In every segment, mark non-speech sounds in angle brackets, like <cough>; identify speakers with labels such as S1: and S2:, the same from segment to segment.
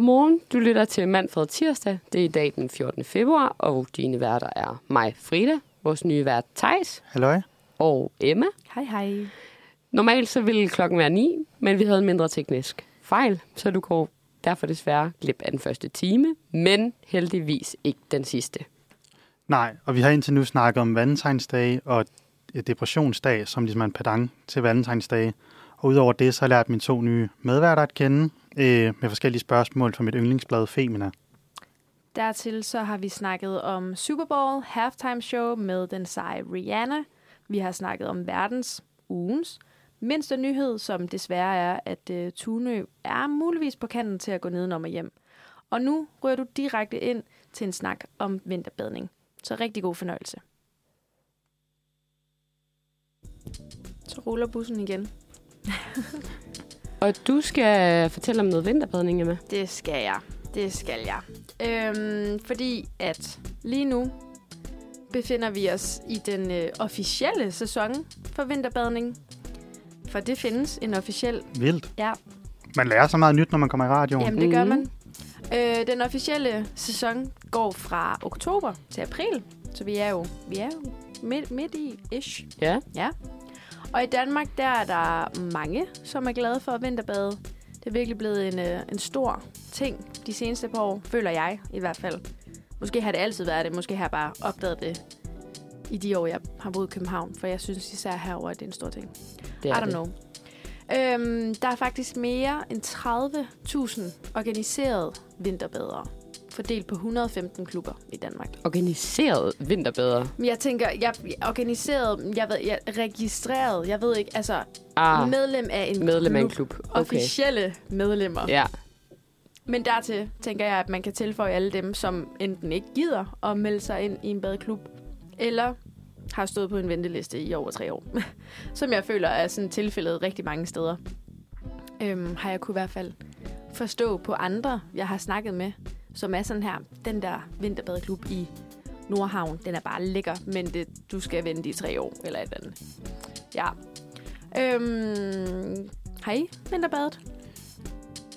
S1: Godmorgen, du lytter til Manfred Tirsdag. Det er i dag den 14. februar, og dine værter er mig, Frida, vores nye vært Tejs
S2: Halløj.
S1: og Emma.
S3: Hej, hej.
S1: Normalt så ville klokken være 9, men vi havde en mindre teknisk fejl, så du går derfor desværre glip af den første time, men heldigvis ikke den sidste.
S2: Nej, og vi har indtil nu snakket om valentinsdag og øh, depressionsdag, som ligesom er en padang til valentinsdag. Og udover det, så har jeg lært mine to nye medværter at kende øh, med forskellige spørgsmål fra mit yndlingsblad Femina.
S3: Dertil så har vi snakket om Super Bowl halftime show med den seje Rihanna. Vi har snakket om verdens ugens mindste nyhed, som desværre er, at uh, Tunø er muligvis på kanten til at gå nedenom og hjem. Og nu rører du direkte ind til en snak om vinterbadning. Så rigtig god fornøjelse. Så ruller bussen igen.
S1: Og du skal fortælle om noget vinterbadning, Emma.
S3: Det skal jeg. Det skal jeg. Øhm, fordi at lige nu befinder vi os i den øh, officielle sæson for vinterbadning. For det findes en officiel.
S2: Vildt.
S3: Ja,
S2: Man lærer så meget nyt, når man kommer i radioen.
S3: jamen det gør
S1: Mhm.
S3: man. Øh, den officielle sæson går fra oktober til april. Så vi er jo, vi er jo midt, midt i ish.
S1: Ja.
S3: Og i Danmark, der er der mange, som er glade for at vinterbade. Det er virkelig blevet en, øh, en stor ting de seneste par år, føler jeg i hvert fald. Måske har det altid været det, måske har jeg bare opdaget det i de år, jeg har boet i København, for jeg synes især herover at det er en stor ting.
S1: Det
S3: I don't know. Øhm, der er faktisk mere end 30.000 organiserede vinterbadere, fordelt på 115 klubber i Danmark.
S1: Organiseret vinterbader.
S3: Men jeg tænker, jeg jeg organiseret, jeg ved, jeg registreret, jeg ved ikke, altså
S1: Ah,
S3: ah, medlem af en
S1: medlem af en
S3: klub.
S1: klub. Okay.
S3: Officielle medlemmer. Ja.
S1: Ja,
S3: Men dertil tænker jeg, at man kan tilføje alle dem, som enten ikke gider at melde sig ind i en badeklub, eller har stået på en venteliste i over tre år. <laughs> som jeg føler er sådan tilfældet rigtig mange steder. Øhm, har jeg kunne i hvert fald forstå på andre, jeg har snakket med, som er sådan her, den der vinterbadeklub i Nordhavn, den er bare lækker, men det, du skal vente i tre år, eller et eller andet. Ja. Øhm, har I vinterbadet?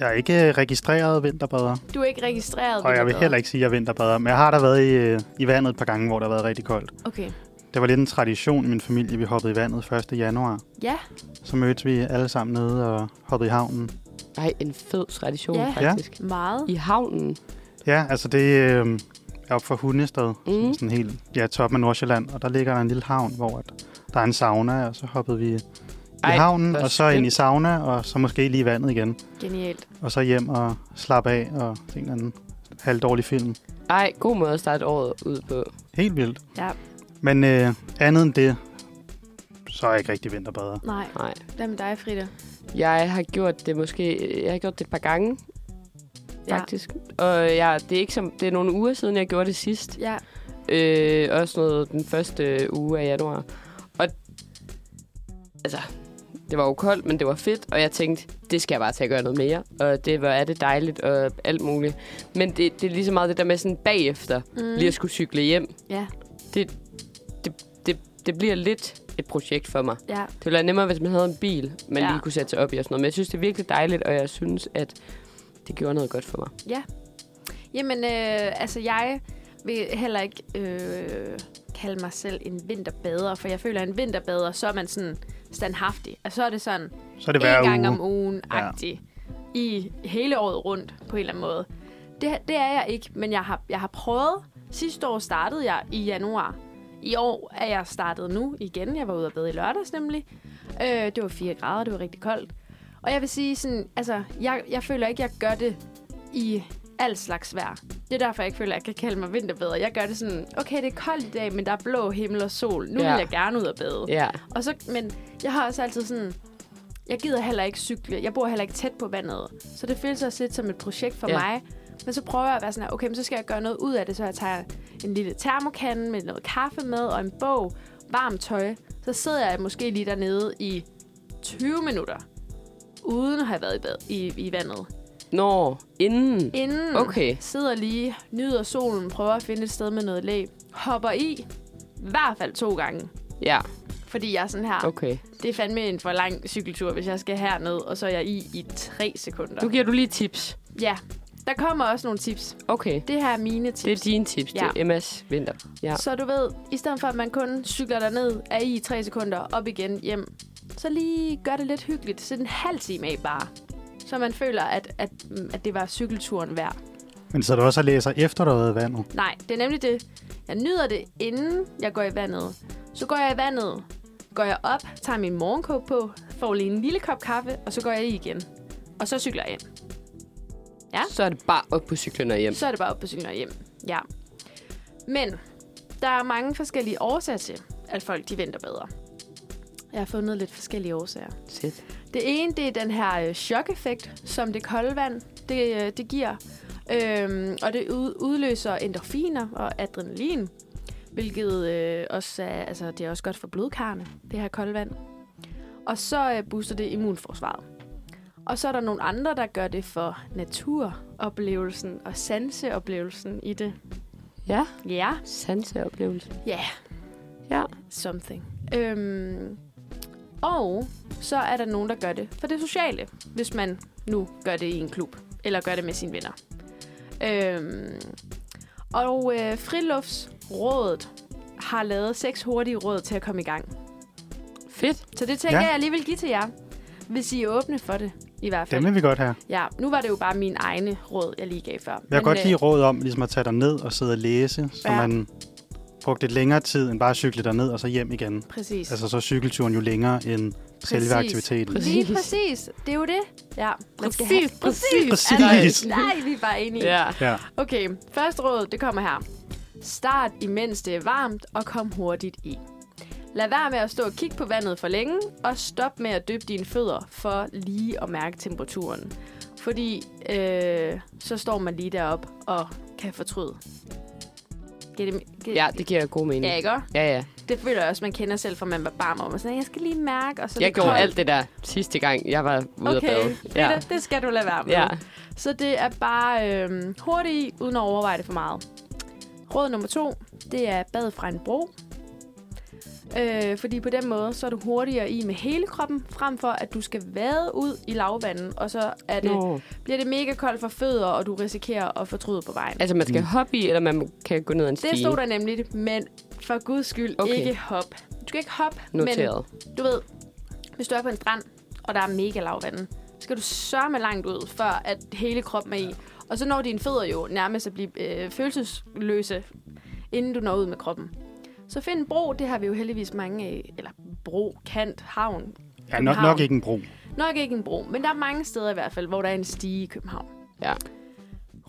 S2: Jeg er ikke øh, registreret vinterbader,
S3: Du er ikke registreret
S2: og jeg vil
S3: vinterbader.
S2: heller ikke sige, at jeg er vinterbader. Men jeg har da været i, øh, i vandet et par gange, hvor der har været rigtig koldt.
S3: Okay.
S2: Det var lidt en tradition i min familie, vi hoppede i vandet 1. januar.
S3: Ja,
S2: Så mødtes vi alle sammen nede og hoppede i havnen.
S1: ej, en fed tradition
S3: Ja.
S1: faktisk.
S3: meget.
S1: I havnen.
S2: Ja, altså det øh, er op for
S3: Mhm.
S2: Hundested,
S1: Mm.
S2: mm. sådan helt ja, toppen af Nordsjælland, og der ligger der en lille havn, hvor at der er en sauna, og så hoppede vi
S1: Ej,
S2: i havnen,
S1: hvor
S2: og så ind i
S1: skønt.
S2: sauna, og så måske lige i vandet igen,
S3: Genialt.
S2: og så hjem og slappe af og se en eller anden halvdårlig film.
S1: Ej, god måde at starte året ud på.
S2: Helt vildt.
S3: Ja.
S2: Men øh, andet end det, så er jeg ikke rigtig vinterbader.
S3: Nej.
S1: Nej.
S3: Hvad med dig, Frida?
S1: Jeg har gjort det måske... Jeg har gjort det et par gange,
S3: Ja.
S1: faktisk. Og jeg, det er ikke som... Det er nogle uger siden, jeg gjorde det sidst.
S3: Ja.
S1: Øh, også noget den første uge af januar. Og... Altså... Det var jo koldt, men det var fedt, og jeg tænkte, det skal jeg bare tage og gøre noget mere. Og det var er det dejligt og alt muligt. Men det, det er lige så meget det der med sådan bagefter,
S3: Mm.
S1: lige at skulle cykle hjem.
S3: Ja.
S1: Det, det, det, det bliver lidt et projekt for mig.
S3: Ja.
S1: Det ville være nemmere, hvis man havde en bil, man ja.
S3: Ja.
S1: lige kunne sætte sig op i og sådan noget. Men jeg synes, det er virkelig dejligt, og jeg synes, at det gjorde noget godt for mig.
S3: Jamen, øh, altså jeg vil heller ikke øh, kalde mig selv en vinterbader, for jeg føler, at en vinterbader, så er man sådan standhaftig. Og så er det sådan
S2: Så er det hver
S3: en gang
S2: uge.
S3: om ugen-agtig ja. i hele året rundt på en eller anden måde. Det, det er jeg ikke, men jeg har, jeg har prøvet. Sidste år startede jeg i januar. I år er jeg startet nu igen. Jeg var ude og bade i lørdags nemlig. Øh, det var 4 grader, det var rigtig koldt. Og jeg vil sige sådan, altså, jeg, jeg føler ikke, jeg gør det i al slags vejr. Det er derfor, jeg ikke føler, at jeg kan kalde mig vinterbader. Jeg gør det sådan, okay, det er koldt i dag, men der er blå himmel og sol. Nu
S1: Ja.
S3: ja. vil jeg gerne ud og bade.
S1: Ja,
S3: Og så, men jeg har også altid sådan... Jeg gider heller ikke cykle. Jeg bor heller ikke tæt på vandet. Så det føles også lidt som et projekt for
S1: Ja.
S3: ja. mig. Men så prøver jeg at være sådan her, okay, men så skal jeg gøre noget ud af det. Så jeg tager en lille termokande med noget kaffe med og en bog, varmt tøj. Så sidder jeg måske lige dernede i 20 minutter, uden at have været i, bad, i, i vandet.
S1: når inden...
S3: Inden
S1: Okay.
S3: sidder lige, nyder solen, prøver at finde et sted med noget læ, hopper i, i hvert fald to gange.
S1: Ja,
S3: Fordi jeg er sådan her,
S1: okay.
S3: det er fandme en for lang cykeltur, hvis jeg skal herned, og så er jeg i i tre sekunder.
S1: Nu giver du lige tips.
S3: Ja, Der kommer også nogle tips.
S1: Okay.
S3: Det her er mine tips.
S1: Det er dine tips ja.
S3: Ja.
S1: til Emmas vinter. Ja.
S3: Så du ved, i stedet for at man kun cykler derned af i tre sekunder, op igen, hjem, så lige gør det lidt hyggeligt. Sæt en halv time af bare. Så man føler, at, at, at det var cykelturen værd.
S2: Men så du også og læser efter, du har været i vandet.
S3: Nej, det er nemlig det. Jeg nyder det, inden jeg går i vandet. Så går jeg i vandet, går jeg op, tager min morgenkåb på, får lige en lille kop kaffe, og så går jeg i igen. Og så cykler jeg ind. Ja.
S1: Så er det bare op på cyklen og hjem.
S3: Så er det bare op på cyklen og hjem. Ja. Men der er mange forskellige årsager til, at folk de venter bedre. Jeg har fundet lidt forskellige årsager.
S1: Sæt.
S3: Det ene, det er den her øh, chok-effekt, som det kolde vand det, øh, det giver. Øhm, og det ud, udløser endorfiner og adrenalin, hvilket øh, også er, altså, det er også godt for blodkarrene, det her kolde vand. Og så øh, booster det immunforsvaret. Og så er der nogle andre, der gør det for naturoplevelsen og sanseoplevelsen i det.
S1: Ja,
S3: Ja,
S1: sanseoplevelse.
S3: ja,
S1: Ja.
S3: something. Øhm, og så er der nogen, der gør det for det sociale, hvis man nu gør det i en klub, eller gør det med sine venner. Øhm, og øh, Friluftsrådet har lavet seks hurtige råd til at komme i gang.
S1: Fedt.
S3: Så det tænker
S2: Ja.
S3: ja. jeg lige vil give til jer, hvis I er åbne for det, i hvert fald.
S2: Dem vil vi godt have.
S3: Ja, nu var det jo bare mine egne råd, jeg lige gav før.
S2: Jeg kan godt
S3: øh,
S2: lide råd om ligesom at tage dig ned og sidde og læse, så
S3: Ja.
S2: man brugte lidt længere tid end bare at cykle derned og så hjem igen.
S3: Præcis.
S2: Altså så er cykelturen jo længere end selve aktiviteten.
S1: Præcis.
S3: Lige præcis. Det er jo det. Ja, man skal
S1: Præcis,
S3: have-
S1: præcis.
S2: Præcis.
S3: Altså, nej, vi er bare enige.
S1: Ja.
S2: Ja.
S3: Okay, første råd, det kommer her. Start imens det er varmt, og kom hurtigt i. Lad være med at stå og kigge på vandet for længe, og stop med at dyppe dine fødder for lige at mærke temperaturen. Fordi øh, så står man lige derop og kan fortryde. Giver det, giver,
S1: ja, det giver god mening.
S3: ja, ikke? også?
S1: Ja, ja.
S3: Det føler jeg også, man kender selv, fra man var barm om. Og sådan, jeg skal lige mærke. Og så er
S1: Jeg
S3: det
S1: gjorde
S3: koldt.
S1: alt det der sidste gang, jeg var ude at
S3: Okay,
S1: bade. Ja.
S3: det, det skal du lade være med.
S1: Ja.
S3: Så det er bare øh, hurtigt i, uden at overveje det for meget. Råd nummer to, det er bad fra en bro. Øh, fordi på den måde, så er du hurtigere i med hele kroppen, frem for at du skal vade ud i lavvandet, og så er det,
S1: Nå.
S3: bliver det mega koldt for fødder, og du risikerer at fortryde på vejen.
S1: Altså, man skal hoppe i, eller man kan gå ned ad en stige.
S3: Mm. Det stod der nemlig, men for guds skyld
S1: Okay.
S3: okay. ikke hop. Du skal ikke hoppe, men
S1: Noteret.
S3: du ved, hvis du er på en strand, og der er mega lavvande, så skal du sørme langt ud, før at hele kroppen er i. Og så når dine fødder jo nærmest at blive øh, følelsesløse, inden du når ud med kroppen. Så find en bro, det har vi jo heldigvis mange af, eller bro, kant, havn.
S2: Ja, nok, nok ikke en bro.
S3: Nok ikke en bro, men der er mange steder i hvert fald, hvor der er en stige i København.
S1: Ja.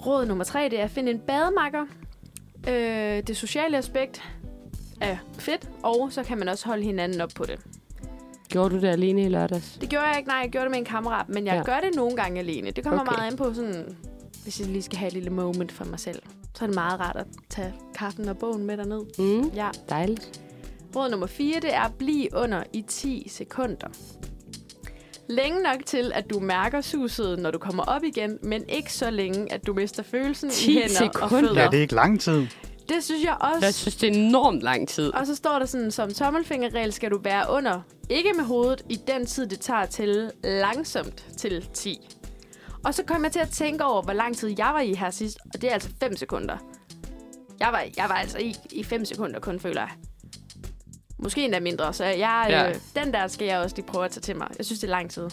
S3: Råd nummer tre, det er at finde en bademakker. Øh, det sociale aspekt er fedt, og så kan man også holde hinanden op på det.
S1: Gjorde du det alene i lørdags?
S3: Det gjorde jeg ikke, nej, jeg gjorde det med en kammerat, men jeg
S1: Ja.
S3: ja. gør det nogle gange alene. Det kommer
S1: Okay.
S3: okay. meget an på sådan, hvis jeg lige skal have et lille moment for mig selv. Så er det meget rart at tage kaffen og bogen med derned.
S1: Mm.
S3: Ja.
S1: Dejligt.
S3: Råd nummer 4, det er at blive under i 10 sekunder. Længe nok til, at du mærker suset, når du kommer op igen, men ikke så længe, at du mister følelsen
S1: 10
S3: i hænder og
S1: sekunder?
S3: fødder.
S2: Ja, det er ikke lang tid.
S3: det synes jeg
S1: Jeg
S3: også.
S1: synes, det er enormt lang tid.
S3: Og så står der sådan, som tommelfingerregel skal du være under, ikke med hovedet, i den tid, det tager til langsomt til 10. Og så kom jeg til at tænke over, hvor lang tid jeg var i her sidst, og det er altså 5 sekunder. Jeg var, jeg var altså i, i 5 sekunder kun, føler jeg. Måske endda mindre, så jeg,
S1: Ja.
S3: ja. øh, den der skal jeg også lige prøve at tage til mig. Jeg synes, det er lang tid.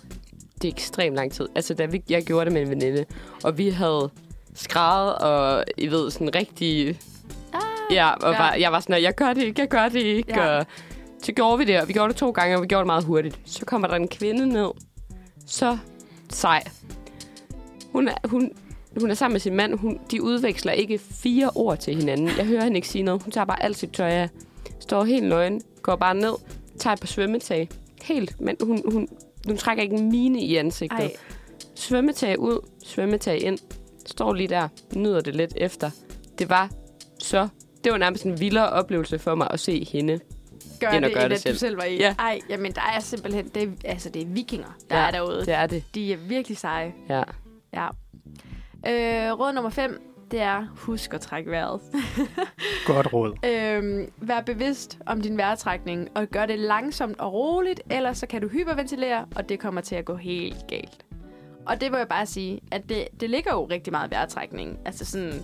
S1: Det er ekstremt lang tid. Altså, da vi, jeg gjorde det med en veninde, og vi havde skræddet, og I ved, sådan rigtig... Ah, ja, og
S3: ja.
S1: Var, jeg var sådan, jeg gør det ikke, jeg gør det ikke. Ja.
S3: Ja.
S1: Og så gjorde vi det, og vi gjorde det to gange, og vi gjorde det meget hurtigt. Så kommer der en kvinde ned. Så sej. Hun er, hun, hun er sammen med sin mand. Hun, de udveksler ikke fire ord til hinanden. Jeg hører hende ikke sige noget. Hun tager bare alt sit tøj af. Står helt nøgen. Går bare ned. Tager et par svømmetag. Helt. Men hun, hun, hun trækker ikke en mine i ansigtet.
S3: Ej,
S1: Svømmetag ud, svømmetag ind. Står lige der, nyder det lidt efter. Det var så... Det var nærmest en vildere oplevelse for mig at se hende.
S3: gør
S1: End at
S3: det,
S1: gøre
S3: end
S1: det
S3: at
S1: selv.
S3: du selv var i.
S1: Ja.
S3: Ej, jamen der er simpelthen, det, er- altså det er vikinger, der
S1: Ja,
S3: er derude.
S1: Det er det,
S3: De er virkelig seje.
S1: ja.
S3: Ja. Øh, råd nummer 5, det er, husk at trække vejret. <laughs>
S2: Godt råd.
S3: øh, vær bevidst om din vejrtrækning, og gør det langsomt og roligt, ellers så kan du hyperventilere, og det kommer til at gå helt galt. Og det vil jeg bare sige, at det, det ligger jo rigtig meget i vejrtrækning. Altså sådan,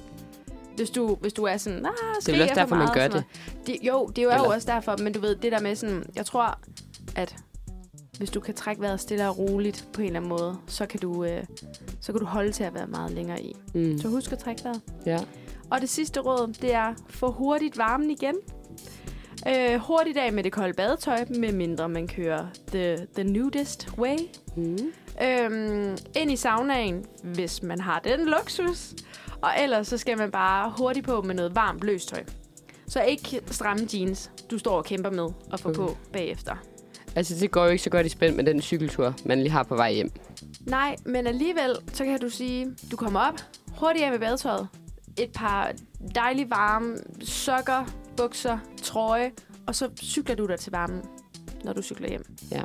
S3: hvis du, hvis du er sådan, ah,
S1: Det er vel også derfor, man gør det.
S3: det. Jo, det er jo
S1: Eller-
S3: Eller... også derfor, men du ved, det der med sådan, jeg tror, at hvis du kan trække vejret stille og roligt på en eller anden måde, så kan du, øh, så kan du holde til at være meget længere i.
S1: Mm.
S3: Så husk at trække vejret.
S1: Ja.
S3: Og det sidste råd, det er, få hurtigt varmen igen. Øh, hurtigt af med det kolde badetøj, medmindre man kører the, the nudist way.
S1: Mm.
S3: Øhm, ind i saunaen, hvis man har den luksus. Og ellers så skal man bare hurtigt på med noget varmt løst tøj. Så ikke stramme jeans, du står og kæmper med og får
S1: Okay.
S3: okay. på bagefter.
S1: Altså, det går jo ikke så godt i spænd med den cykeltur, man lige har på vej hjem.
S3: Nej, men alligevel, så kan du sige, du kommer op, hurtigt af med badetøjet. Et par dejlige varme sokker, bukser, trøje, og så cykler du dig til varmen, når du cykler hjem.
S1: Ja.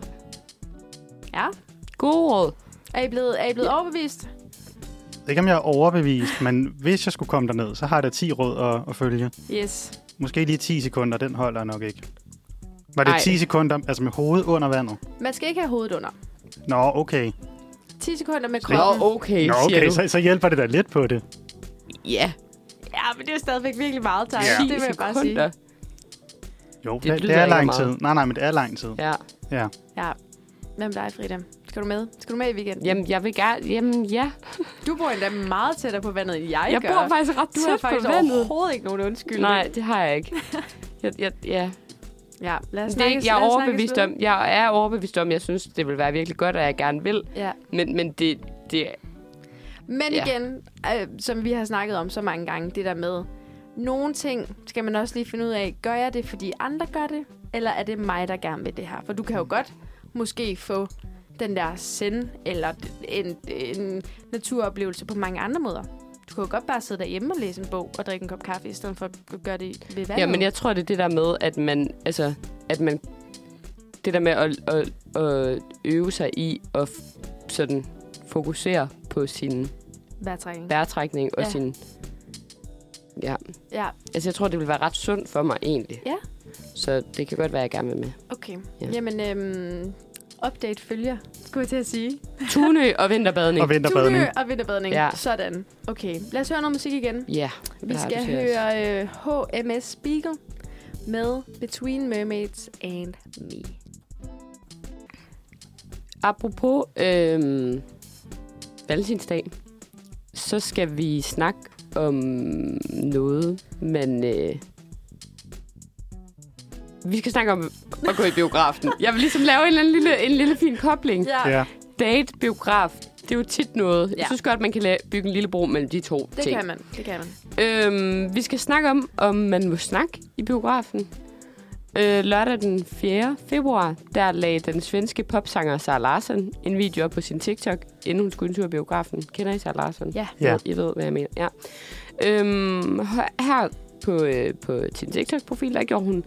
S3: Ja.
S1: God råd.
S3: Er I blevet, er I blevet overbevist?
S2: Ikke om jeg er overbevist, men hvis jeg skulle komme derned, så har jeg da 10 råd at, at følge.
S3: Yes.
S2: Måske lige 10 sekunder, den holder nok ikke. Var det
S1: Ej.
S2: Ej. 10 sekunder, altså med hovedet under vandet?
S3: Man skal ikke have hovedet under.
S2: Nå, okay.
S3: 10 sekunder med
S1: Nå, oh.
S3: kroppen.
S1: okay,
S2: Nå,
S1: siger
S2: okay,
S1: du.
S2: så, så hjælper det da lidt på det.
S1: Ja,
S3: Ja, men det er stadigvæk virkelig meget time.
S1: 10
S3: Det vil jeg bare sige.
S1: sekunder.
S2: Jo, det,
S1: lyder
S2: det, det
S1: ikke
S2: er
S1: af
S2: lang
S1: meget.
S2: tid. Nej, nej, men det er lang tid.
S1: Ja.
S2: Ja.
S3: Ja. Hvem dig, Frida? Skal du med? Skal du med i weekenden?
S1: Jamen, jeg vil gerne... Jamen, ja.
S3: Du bor endda meget tættere på vandet, end jeg,
S1: Jeg
S3: gør.
S1: bor faktisk ret
S3: du
S1: tæt
S3: har faktisk
S1: på vandet.
S3: overhovedet ikke nogen undskyldning.
S1: Nej, det har
S3: <laughs>
S1: jeg ikke. Jeg, jeg, ja.
S3: Ja, lad os
S1: Det er
S3: snakkes,
S1: ikke, jeg, er
S3: lad os snakkes
S1: overbevist
S3: ved.
S1: om, jeg er overbevist om, jeg synes, det vil være virkelig godt, og jeg gerne vil.
S3: Ja.
S1: Men, men det, det,
S3: Men
S1: Ja.
S3: ja. igen, øh, som vi har snakket om så mange gange, det der med, nogle ting skal man også lige finde ud af, gør jeg det, fordi andre gør det, eller er det mig, der gerne vil det her? For du kan jo godt måske få den der send, eller en, en naturoplevelse på mange andre måder. Du kan jo godt bare sidde derhjemme og læse en bog og drikke en kop kaffe, i stedet for at gøre det ved vandet.
S1: ja, men jeg tror, det er det der med, at man, altså, at man, det der med at, at, at øve sig i at f- sådan fokusere på sin
S3: Vejrtrækning.
S1: vejrtrækning og ja.
S3: Ja.
S1: sin... Ja.
S3: Ja,
S1: Altså, jeg tror, det vil være ret sundt for mig egentlig.
S3: Ja.
S1: Så det kan godt være, jeg gerne vil med.
S3: okay.
S1: Ja.
S3: Ja. Jamen, øhm, update følger, skulle jeg til at sige.
S1: Tunø og vinterbadning.
S2: Og vinterbadning.
S3: Tunø og vinterbadning.
S1: Ja.
S3: Ja. Sådan. Okay, lad os høre noget musik igen.
S1: Ja.
S3: Vi
S1: der har
S3: skal
S1: du til os.
S3: høre øh, HMS Spiegel med Between Mermaids and Me.
S1: Apropos øhm, valentinsdag, så skal vi snakke om noget, men... Øh, vi skal snakke om at gå i biografen. Jeg vil ligesom lave en, eller anden lille, en lille fin kobling.
S3: Ja,
S2: Ja.
S1: Date, biograf, det er jo tit noget. Ja. Jeg
S3: Ja.
S1: synes godt, man kan la- bygge en lille bro mellem de to
S3: det
S1: ting.
S3: kan man. Det kan man.
S1: Øhm, vi skal snakke om, om man må snakke i biografen. Øh, lørdag den 4. februar, der lagde den svenske popsanger Sara Larsson en video op på sin TikTok, inden hun skulle en tur i biografen. Kender I Sara Larsson?
S3: Ja.
S2: Ja.
S1: I ved, hvad jeg mener. Ja. Øhm, h- her på, øh, på sin TikTok-profil, der gjorde hun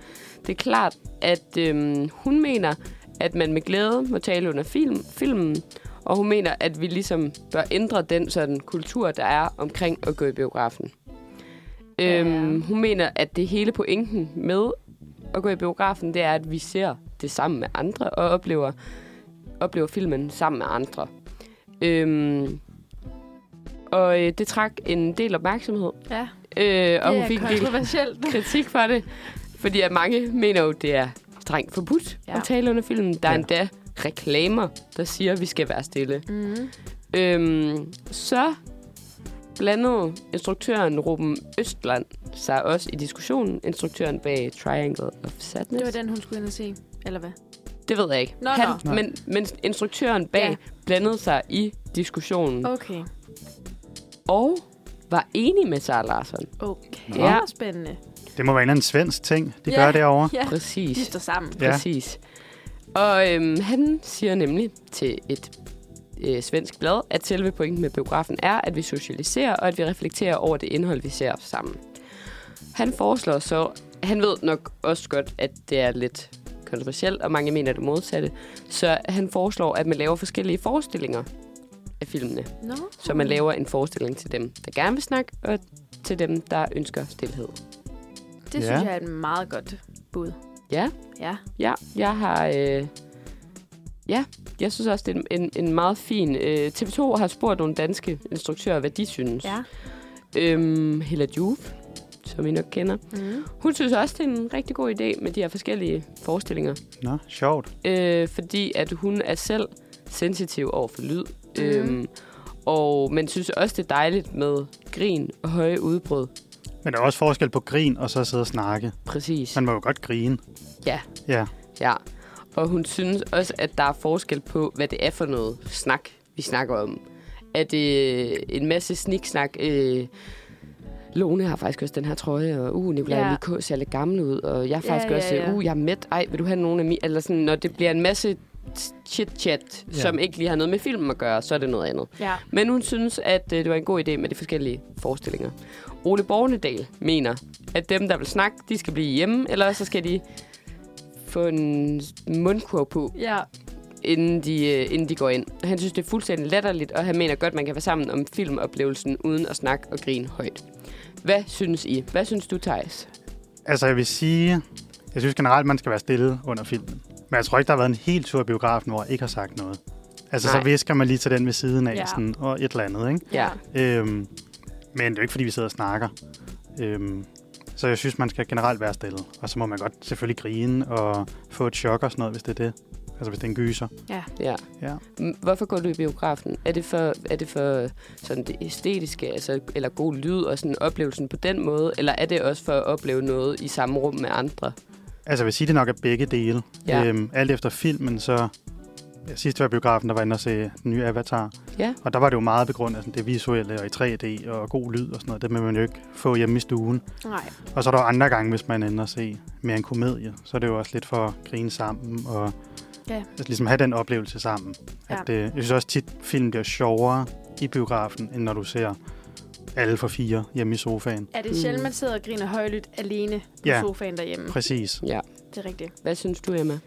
S1: det klart, at øhm, hun mener, at man med glæde må tale under film, filmen, og hun mener, at vi ligesom bør ændre den sådan kultur, der er omkring at gå i biografen.
S3: Ja.
S1: Øhm, hun mener, at det hele pointen med at gå i biografen, det er, at vi ser det sammen med andre og oplever, oplever filmen sammen med andre. Øhm, og øh, det trak en del opmærksomhed,
S3: Ja,
S1: øh, og hun
S3: det er
S1: fik en del <laughs>
S3: kontroversielt.
S1: kritik for det, fordi at mange mener jo, det er strengt forbudt ja.
S3: Ja.
S1: at tale under filmen. Der er ja.
S2: Ja.
S1: endda reklamer, der siger, at vi skal være stille.
S3: Mm.
S1: Øhm, så blandede instruktøren Ruben Østland sig også i diskussionen. Instruktøren bag Triangle of Sadness.
S3: Det var den, hun skulle ind og se. Eller hvad?
S2: Mm.
S1: Det ved jeg ikke.
S3: Nå,
S1: Han,
S2: nå.
S1: Men, men instruktøren bag
S3: Ja.
S1: blandede sig i diskussionen
S3: Okay.
S1: og var enig med Sara Larsson.
S3: Okay.
S1: Ja.
S3: Ja. Spændende.
S2: Det må være en eller anden svensk ting, de
S3: Ja.
S2: gør derovre.
S3: Ja, de
S1: Præcis.
S3: står sammen.
S2: Ja.
S1: Præcis. Og øhm, han siger nemlig til et øh, svensk blad, at selve pointen med biografen er, at vi socialiserer og at vi reflekterer over det indhold, vi ser sammen. Han foreslår så, han ved nok også godt, at det er lidt kontroversielt, og mange mener det modsatte, så han foreslår, at man laver forskellige forestillinger af filmene.
S3: No.
S1: Så man laver en forestilling til dem, der gerne vil snakke, og til dem, der ønsker stillhed.
S3: Det
S2: Ja.
S3: synes jeg er et meget godt bud.
S1: Ja,
S3: Ja.
S1: Ja, jeg har øh, Jeg synes også, det er en, en meget fin... Øh, TV2 har spurgt nogle danske instruktører, hvad de synes.
S3: Ja.
S1: Øhm, Hella Juve, som I nok kender.
S3: Mm.
S1: Hun synes også, det er en rigtig god idé med de her forskellige forestillinger.
S2: Nå, sjovt.
S1: øh, fordi at hun er selv sensitiv over for lyd. Mm. Øhm, og man synes også, det er dejligt med grin og høje udbrud.
S2: Men der er også forskel på grin og så sidde og snakke.
S1: Præcis.
S2: Man må jo godt grine.
S1: Ja,
S2: Ja,
S1: ja. Og hun synes også, at der er forskel på, hvad det er for noget snak, vi snakker om. Er det øh, en masse sniksnak? Øh, Lone har faktisk også den her trøje, og uh, Nicolaj
S3: Ja.
S1: ja. K. ser lidt gammel ud, og jeg er
S3: Ja,
S1: faktisk
S3: ja,
S1: også,
S3: ja.
S1: uh, jeg er mæt, ej, vil du have nogen af mine? Eller sådan, når det bliver en masse chit-chat,
S2: Ja.
S1: ja. som ikke lige har noget med filmen at gøre, så er det noget andet.
S3: Ja.
S1: Men hun synes, at øh, det var en god idé med de forskellige forestillinger. Ole Bornedal mener, at dem, der vil snakke, de skal blive hjemme, eller så skal de få en mundkurv på,
S3: Ja.
S1: inden de, øh, inden de går ind. Han synes, det er fuldstændig latterligt, og han mener godt, man kan være sammen om filmoplevelsen, uden at snakke og grine højt. Hvad synes I? Hvad synes du, Thijs?
S2: altså jeg vil sige, jeg synes generelt, man skal være stille under filmen. Men jeg tror ikke, der har været en hel tur i biografen, hvor jeg ikke har sagt noget. Altså Nej.
S1: Nej.
S2: så visker man lige til den ved siden af,
S3: Ja.
S2: ja. sådan, og et eller andet, ikke?
S1: Ja.
S2: Øhm, men det er jo ikke, fordi vi sidder og snakker. Øhm, så jeg synes, man skal generelt være stille. Og så må man godt selvfølgelig grine og få et chok og sådan noget, hvis det er det. Altså hvis det er en gyser.
S1: Ja.
S2: Ja.
S1: M- Hvorfor går du i biografen? Er det for, er det for sådan det æstetiske, altså, eller god lyd og sådan oplevelsen på den måde? Eller er det også for at opleve noget i samme rum med andre?
S2: Altså jeg vil sige, det nok er begge dele.
S1: Ja.
S2: Øhm, alt efter filmen, så... Ja, sidst jeg var i biografen, der var jeg inde og se den nye Avatar.
S1: Ja.
S2: Og der var det jo meget begrundet af sådan, det visuelle og i 3D og god lyd og sådan noget. Det vil man jo ikke få hjemme i stuen.
S3: Nej.
S2: Og så er der jo andre gange, hvis man ender at se mere en komedie, så er det jo også lidt for at grine sammen og
S3: Ja.
S2: ja. ligesom have den oplevelse sammen.
S3: Ja.
S2: Ja. At, øh, jeg synes også tit, film bliver sjovere i biografen, end når du ser alle for fire hjemme i sofaen.
S3: Er det
S1: Mm.
S3: sjældent, man sidder og griner højlydt alene på
S2: Ja.
S3: sofaen derhjemme?
S2: Præcis.
S1: Ja.
S3: Det er rigtigt.
S1: Hvad synes du, Emma?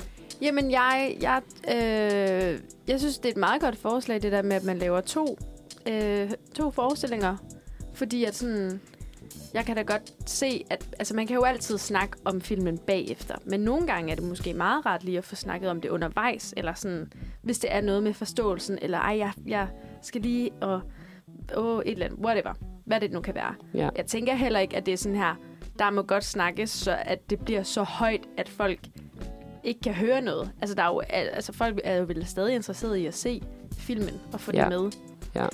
S3: Jamen, jeg, jeg, øh, jeg synes, det er et meget godt forslag, det der med, at man laver to, øh, to forestillinger. Fordi at sådan, jeg kan da godt se, at altså, man kan jo altid snakke om filmen bagefter. Men nogle gange er det måske meget rart lige at få snakket om det undervejs. Eller sådan, hvis det er noget med forståelsen. Eller ej, jeg, jeg skal lige og... Åh, et eller andet. Whatever. Hvad det nu kan være.
S1: Ja.
S3: Jeg tænker heller ikke, at det er sådan her, der må godt snakkes, så at det bliver så højt, at folk ikke kan høre noget. Altså, der er jo, al- altså folk er jo vel stadig interesseret i at se filmen og få ja.
S1: Ja.
S3: det med.
S1: Ja.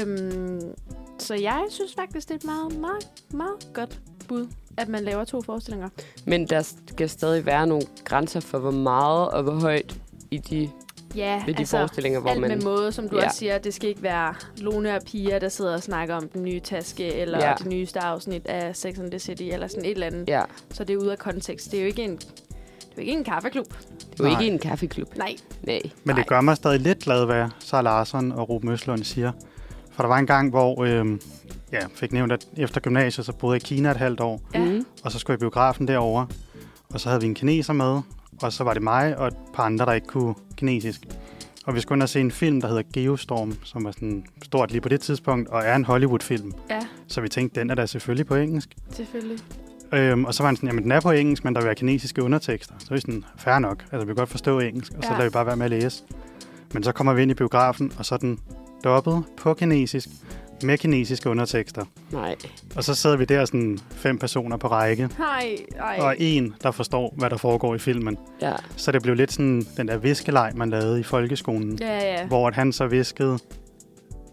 S3: Øhm, så jeg synes faktisk, det er et meget, meget, meget godt bud, at man laver to forestillinger.
S1: Men der skal stadig være nogle grænser for, hvor meget og hvor højt i de,
S3: Ja,
S1: ved de altså, forestillinger, hvor
S3: alt
S1: man...
S3: med måde, som du ja.
S1: Ja.
S3: også siger. Det skal ikke være Lone og Pia, der sidder og snakker om den nye taske, eller ja.
S1: Ja.
S3: det nyeste afsnit af Sex and the City, eller sådan et eller andet.
S1: Ja,
S3: Så det er ude af kontekst. Det er jo ikke en, det er jo ikke en kaffeklub.
S1: det er jo
S2: Nej.
S1: ikke en kaffeklub.
S3: Nej.
S1: Nej.
S2: Men
S3: Nej.
S2: det gør mig stadig lidt glad, hvad Sara Larsson og Ruben Østlund siger. For der var en gang, hvor øh, ja, jeg fik nævnt, at efter gymnasiet, så boede jeg i Kina et halvt år.
S3: Ja.
S1: Mm.
S2: Og så skulle jeg i biografen derovre. Og så havde vi en kineser med. Og så var det mig og et par andre, der ikke kunne kinesisk. Og vi skulle ind og se en film, der hedder Geostorm, som var sådan stort lige på det tidspunkt, og er en Hollywood-film.
S3: Ja,
S2: Så vi tænkte, den er da selvfølgelig på engelsk.
S3: selvfølgelig.
S2: Øhm, og så var han sådan, jamen den er på engelsk, men der vil være kinesiske undertekster. Så er vi sådan, fair nok, altså vi kan godt forstå engelsk, og så
S3: Ja.
S2: ja. lader vi bare være med at læse. Men så kommer vi ind i biografen, og så er den dobbelt på kinesisk, med kinesiske undertekster.
S1: Nej.
S2: Og så sidder vi der sådan fem personer på række,
S3: Hej, ej.
S2: og en, der forstår, hvad der foregår i filmen.
S1: Ja.
S2: Så det blev lidt sådan den der viskeleg, man lavede i folkeskolen, ja.
S3: Ja, ja.
S2: hvor at han så viskede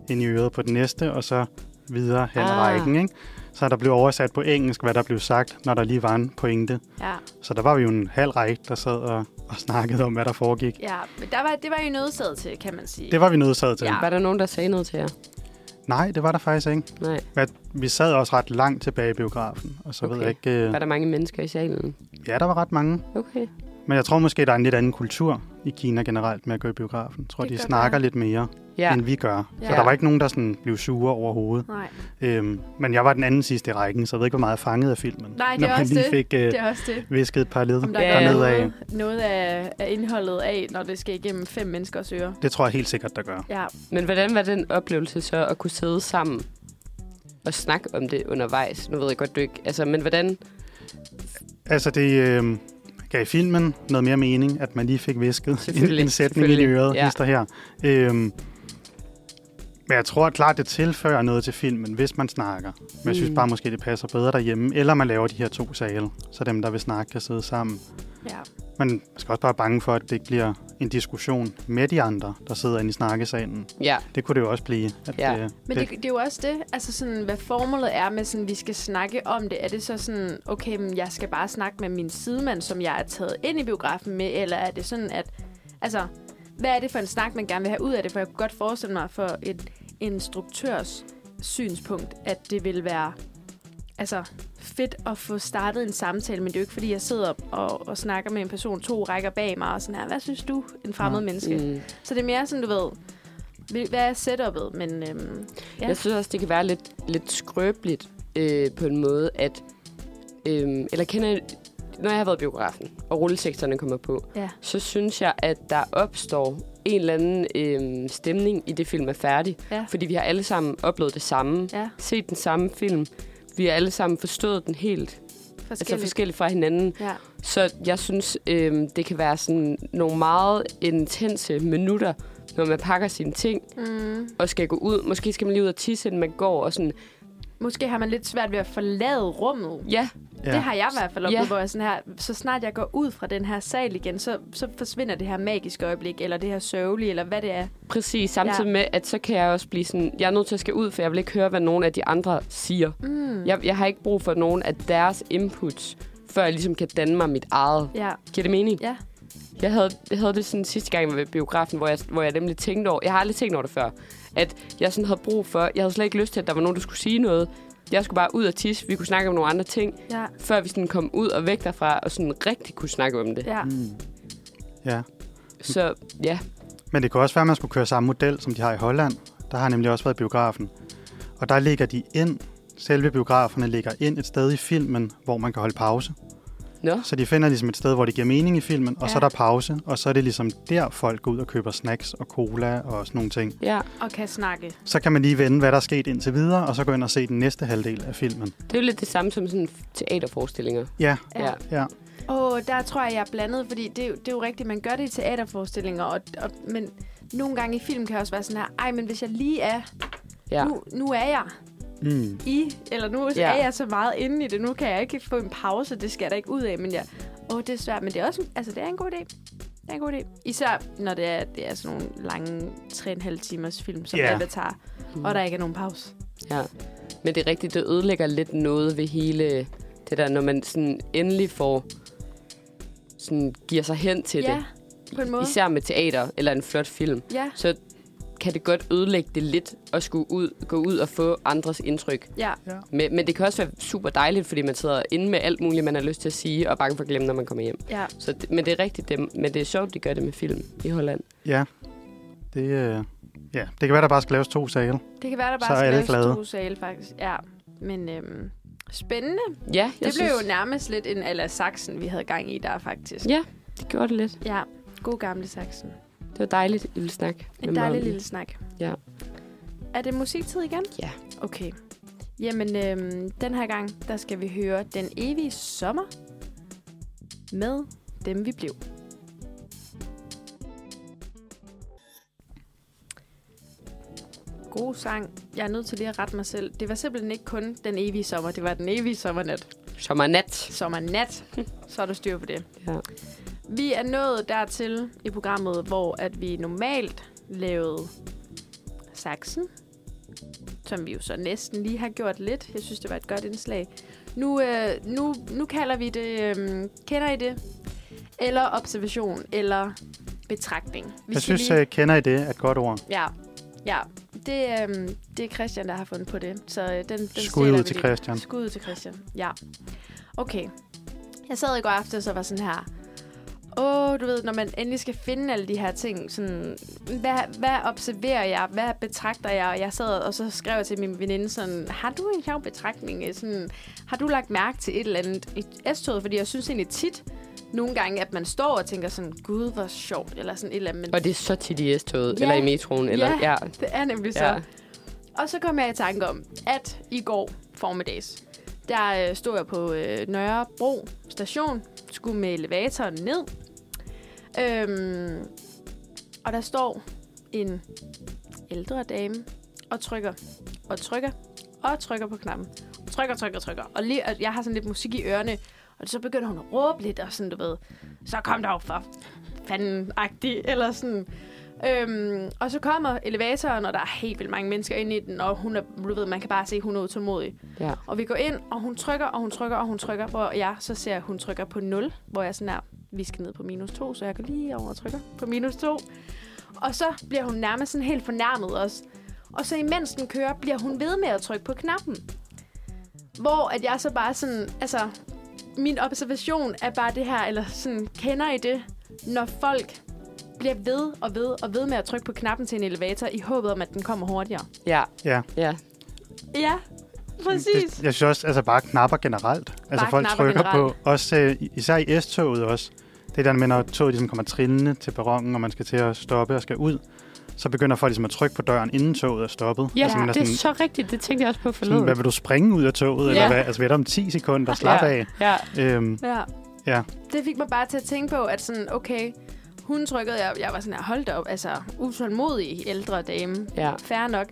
S2: ind i øret på den næste, og så videre hen ah.
S1: Ah.
S2: rækken. Ikke? Så der blev oversat på engelsk, hvad der blev sagt, når der lige var en pointe.
S3: ja.
S2: Så der var vi jo en halv række, der sad og, og snakkede om, hvad der foregik.
S3: ja. Men der var, det var I nødsaget til, kan man sige.
S2: Det var vi nødsaget til.
S3: Ja.
S2: Ja.
S1: Var der nogen, der sagde noget til jer?
S2: Nej, det var der faktisk ikke.
S1: Nej.
S2: Men vi sad også ret langt tilbage i biografen, og så okay. ved
S1: Okay.
S2: jeg ikke... øh,
S1: Var der mange mennesker i salen?
S2: Ja, der var ret mange.
S1: Okay.
S2: Men jeg tror måske, der er en lidt anden kultur i Kina generelt med at gå i biografen. Jeg tror,
S3: Det
S2: de
S3: kan godt
S2: snakker
S3: være.
S2: lidt mere, ja.
S1: Ja.
S2: end vi gør. Så
S3: Ja.
S2: der var ikke nogen, der sådan blev sure overhovedet.
S3: Nej,
S2: Øhm, men jeg var den anden sidste i rækken, så jeg ved ikke, hvor meget jeg fangede af filmen.
S3: Nej, det
S2: når
S3: er
S2: man
S3: også
S2: lige
S3: det.
S2: fik øh,
S3: det er også det.
S2: visket et par led
S3: Om der
S1: Ja,
S3: ja,
S1: ja.
S3: er
S2: dernede af.
S3: noget, noget af, af indholdet af, når det skal igennem fem menneskers ører.
S2: Det tror jeg helt sikkert, der gør.
S3: Ja,
S1: Men hvordan var den oplevelse så at kunne sidde sammen og snakke om det undervejs? Nu ved jeg godt, du ikke... Altså, men hvordan...
S2: Altså, det, øh, gav filmen noget mere mening, at man lige fik visket en,
S1: Selvfølgelig,
S2: en sætning ind i
S1: selvfølgelig,
S2: øret,
S1: ja.
S2: ja. der her. Øhm, men jeg tror klart, det tilføjer noget til filmen, hvis man snakker. Men jeg synes
S1: Mm.
S2: bare, måske det passer bedre derhjemme. Eller man laver de her to sale, så dem, der vil snakke, kan sidde sammen.
S3: Ja.
S2: Men man skal også bare være bange for, at det ikke bliver en diskussion med de andre, der sidder inde i snakkesalen.
S1: Ja,
S2: Det kunne det jo også blive. At,
S1: Ja.
S2: øh,
S3: Men det, det er jo også det, altså sådan, hvad formålet er med, sådan, vi skal snakke om det. Er det så sådan, okay, men jeg skal bare snakke med min sidemand, som jeg er taget ind i biografen med, eller er det sådan, at... Altså, hvad er det for en snak, man gerne vil have ud af det? For jeg kunne godt forestille mig for et instruktørs synspunkt, at det vil være altså, fedt at få startet en samtale, men det er jo ikke, fordi jeg sidder og, og snakker med en person to rækker bag mig, og sådan her, hvad synes du, en fremmed
S2: Ja.
S3: menneske?
S1: mm.
S3: Så det er mere sådan, du ved, hvil- hvad er setupet, men øhm, Ja.
S1: ja. Jeg synes også, det kan være lidt, lidt skrøbeligt øh, på en måde, at... Øh, eller kender I- når jeg har været i biografen, og rulleteksterne kommer på,
S3: ja.
S1: så synes jeg, at der opstår en eller anden øh, stemning i det film er færdig.
S3: Ja.
S1: Fordi vi har alle sammen oplevet det samme,
S3: Ja,
S1: set den samme film. Vi har alle sammen forstået den helt,
S3: forskelligt.
S1: altså forskelligt fra hinanden.
S3: Ja.
S1: Så jeg synes, øh, det kan være sådan nogle meget intense minutter, når man pakker sine ting
S3: Mm.
S1: og skal gå ud. Måske skal man lige ud og tisse, inden man går, og sådan,
S3: Måske har man lidt svært ved at forlade rummet.
S1: ja,
S3: Ja. Det har jeg i hvert fald oplevet,
S1: Ja.
S3: ja. hvor jeg sådan her, så snart jeg går ud fra den her sal igen, så, så forsvinder det her magiske øjeblik, eller det her sørgelige, eller hvad det er.
S1: præcis. Samtidig ja. med, at så kan jeg også blive sådan, jeg er nødt til at skal ud, for jeg vil ikke høre, hvad nogen af de andre siger.
S3: Mm.
S1: Jeg, jeg har ikke brug for nogen af deres inputs, før jeg ligesom kan danne mig mit eget.
S3: Ja.
S1: Giver det mening?
S3: Ja.
S1: Jeg havde, jeg havde det sådan sidste gang, jeg var ved biografen, hvor jeg, hvor jeg nemlig tænkte over, jeg har aldrig tænkt over det før, at jeg sådan havde brug for, jeg havde slet ikke lyst til, at der var nogen, der skulle sige noget. Jeg skulle bare ud og tisse, vi kunne snakke om nogle andre ting,
S3: Ja.
S1: før vi sådan kom ud og væk derfra, og sådan rigtig kunne snakke om det.
S3: Ja.
S2: Mm. Ja.
S1: Så ja,
S2: Men det kunne også være, at man skulle køre samme model, som de har i Holland. Der har nemlig også været biografen. Og der ligger de ind, selve biograferne ligger ind et sted i filmen, hvor man kan holde pause.
S1: nå,
S2: Så de finder ligesom et sted, hvor det giver mening i filmen, og ja. så er
S3: Ja.
S2: der pause, og så er det ligesom der, folk går ud og køber snacks og cola og sådan nogle ting.
S1: ja.
S3: Og kan snakke.
S2: Så kan man lige vende, hvad der er sket indtil videre, og så gå ind og se den næste halvdel af filmen.
S1: Det er jo lidt det samme som sådan teaterforestillinger.
S2: Ja,
S1: Ja.
S2: ja.
S3: Åh, der tror jeg, jeg er blandet, fordi det, er jo- det er jo rigtigt, man gør det i teaterforestillinger, og, og, men nogle gange i film kan jeg også være sådan her, ej, men hvis jeg lige er,
S1: ja.
S3: nu, nu er jeg
S2: Mm.
S3: i, eller nu
S1: Ja.
S3: ja. er jeg så meget inde i det, nu kan jeg ikke få en pause, det skal jeg da ikke ud af, men jeg, åh, det er svært, men det er også, en- altså det er en god idé. Det er en god idé. Især når det er, det er sådan nogle lange 3,5 timers film, som
S2: Ja.
S3: yeah. Avatar,
S1: Mhm.
S3: Uh, og der ikke er nogen pause.
S1: Ja, men det er rigtigt, det ødelægger lidt noget ved hele det der, når man sådan endelig får sådan giver sig hen til
S3: ja,
S1: det.
S3: på en måde.
S1: Især med teater eller en flot film,
S3: Ja,
S1: så kan det godt ødelægge det lidt at skulle ud, gå ud og få andres indtryk.
S3: ja,
S1: Men, men det kan også være super dejligt, fordi man sidder inde med alt muligt, man har lyst til at sige, og er bange for at glemme, når man kommer hjem.
S3: ja.
S1: Så det, men det er rigtigt, det, men det er sjovt, de gør det med film i Holland.
S2: Ja. Det, øh, ja. det kan være, der bare skal laves to sale.
S3: Det kan være, der
S2: Så
S3: bare
S2: er alle
S3: skal
S2: glade.
S3: laves to sale, faktisk. Ja, men øhm, spændende.
S1: Ja, jeg
S3: det blev
S1: synes,
S3: jo nærmest lidt en ala Saxen, vi havde gang i der, faktisk.
S1: Ja, det gjorde det lidt.
S3: Ja, god gamle Saxen.
S1: Det var dejligt, I ville snakke. med
S3: En
S1: mig om
S3: dejlig
S1: det.
S3: lille snak.
S1: øhm, Ja.
S3: Er det musiktid igen?
S1: Ja.
S3: Okay. Jamen, øhm, den her gang, der skal vi høre Den evige sommer med dem, vi blev. God sang. Jeg er nødt til lige at rette mig selv. Det var simpelthen ikke kun Den evige sommer, det var Den evige sommernat.
S1: Sommernat.
S3: Sommernat. <laughs> Så er der styr på det.
S1: Ja.
S3: Vi er nået dertil i programmet, hvor at vi normalt lavede saksen, som vi jo så næsten lige har gjort lidt. Jeg synes, det var et godt indslag. Nu, øh, nu, nu kalder vi det, øh, kender I det? Eller observation, eller betragtning. Vi
S2: Jeg
S3: skal
S2: synes, lige... kender I det er et godt ord.
S3: Ja, ja. Det, øh, det er Christian, der har fundet på det. Så øh, den, den
S2: Skud
S3: stjæler
S2: ud
S3: vi
S2: til
S3: lige.
S2: Christian.
S3: Skud ud til Christian, ja. Okay. Jeg sad i går aftes og var sådan her... Åh, oh, du ved, når man endelig skal finde alle de her ting, sådan, hvad, hvad observerer jeg, hvad betragter jeg? Og jeg sad og så skrev jeg til min veninde sådan, har du en sjov betragtning? Sådan, har du lagt mærke til et eller andet i S-toget? Fordi jeg synes egentlig tit, nogle gange, at man står og tænker sådan, gud, hvor sjovt, eller sådan et eller andet. Men <laughs>
S1: Og det er så tit i S-toget,
S3: Ja.
S1: eller i metroen, eller...
S3: Ja.
S1: Ja.
S3: det er nemlig så.
S1: ja.
S3: Og så kom jeg i tanke om, at i går formiddags, Der øh, stod jeg på øh, Nørrebro station, skulle med elevatoren ned. Øhm, og der står en ældre dame og trykker, og trykker, og trykker på knappen. Trykker, trykker, trykker. Og, lige, og jeg har sådan lidt musik i ørerne, og så begynder hun at råbe lidt, og sådan, du ved, så kom der jo for fanden-agtig, eller sådan. Øhm, og så kommer elevatoren, og der er helt vildt mange mennesker inde i den, og hun er, du ved, man kan bare se, hun er utålmodig.
S1: Ja.
S3: Og vi går ind, og hun trykker, og hun trykker, og hun trykker, hvor jeg så ser, at hun trykker på 0, hvor jeg sådan er, vi skal ned på minus 2, så jeg går lige over og trykker på minus 2. Og så bliver hun nærmest sådan helt fornærmet også. Og så imens den kører, bliver hun ved med at trykke på knappen. Hvor at jeg så bare sådan, altså, min observation er bare det her, eller sådan, kender I det, når folk bliver ved og ved og ved med at trykke på knappen til en elevator, i håbet om, at den kommer hurtigere.
S1: Ja,
S2: Ja.
S1: ja.
S3: Ja, præcis.
S2: Det, jeg synes også, altså bare knapper generelt. Altså
S3: Bare
S2: folk
S3: knapper
S2: trykker
S3: generelt.
S2: på, også øh, især i S-toget også. Det der med, når toget ligesom kommer trillende til perronen, og man skal til at stoppe og skal ud, så begynder folk ligesom at trykke på døren, inden toget er stoppet. Altså,
S1: Ja,
S2: man
S1: det er så rigtigt. Det tænkte jeg også på
S2: sådan,
S1: forleden.
S2: hvad vil du springe ud af toget? Ja.
S1: Ja.
S2: Eller hvad? Altså, vi er der om 10 sekunder. Slap
S1: Ja.
S2: ja. af.
S1: Ja,
S2: Øhm,
S3: Ja.
S2: Ja.
S3: Det fik mig bare til at tænke på, at sådan, okay, hun trykkede, jeg, jeg var sådan her, hold da op, altså utålmodig ældre dame.
S1: ja.
S3: Fair nok.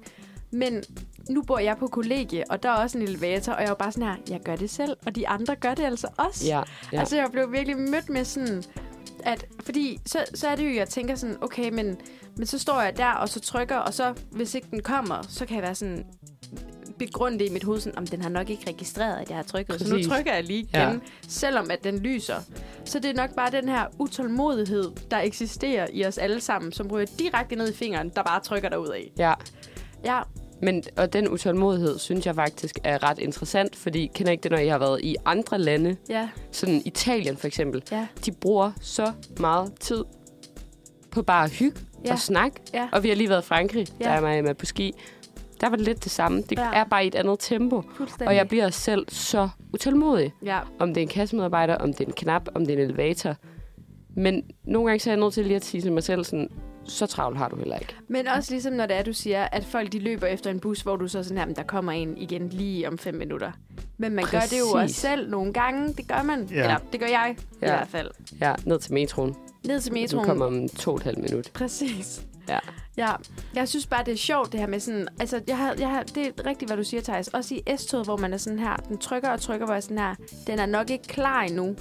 S3: Men nu bor jeg på kollegie, og der er også en elevator, og jeg var bare sådan her, jeg gør det selv, og de andre gør det altså også.
S1: Ja, ja.
S3: Altså, jeg blev virkelig mødt med sådan, at, fordi så, så er det jo, jeg tænker sådan, okay, men, men så står jeg der, og så trykker, og så, hvis ikke den kommer, så kan jeg være sådan, begrunde det i mit hoved, sådan, om den har nok ikke registreret, at jeg har trykket, så nu
S1: Præcis.
S3: trykker jeg lige igen,
S1: Ja.
S3: ja. selvom at den lyser. Så det er nok bare den her utålmodighed, der eksisterer i os alle sammen, som ryger direkte ned i fingeren, der bare trykker dig ud af.
S1: ja.
S3: Ja,
S1: Men, og den utålmodighed, synes jeg faktisk er ret interessant, fordi kender ikke det, når I har været i andre lande,
S3: ja,
S1: sådan Italien for eksempel,
S3: ja,
S1: de bruger så meget tid på bare at hygge ja.
S3: Ja.
S1: og snakke.
S3: Ja.
S1: Og vi har lige været i Frankrig, ja.
S3: Ja.
S1: der er mig med på ski. Der var det lidt det samme. Det ja.
S3: Ja.
S1: er bare i et andet tempo.
S3: fuldstændig.
S1: Og jeg bliver selv så utålmodig.
S3: Ja,
S1: Om det er en kassemedarbejder, om det er en knap, om det er en elevator. Men nogle gange så er jeg nødt til lige at sige til mig selv sådan, så travlt har du heller ikke.
S3: men også ligesom når det er, du siger, at folk de løber efter en bus, hvor du så er sådan her, "Men der kommer en igen lige om fem minutter. Men man gør det jo
S1: Præcis.
S3: også selv nogle gange, det gør man.
S2: Ja.
S3: Ja. Eller det gør jeg ja. i
S1: Ja.
S3: hvert fald.
S1: Ja, ned til metroen.
S3: Ned til
S1: Du
S3: metroen.
S1: kommer om to og et halvt minut.
S3: Præcis.
S1: Ja.
S3: Ja, jeg synes bare, det er sjovt det her med sådan, altså jeg har, jeg har, det er rigtigt, hvad du siger, Thijs. Også i S-toget, hvor man er sådan her, den trykker og trykker, hvor jeg er sådan her, den er nok ikke klar endnu.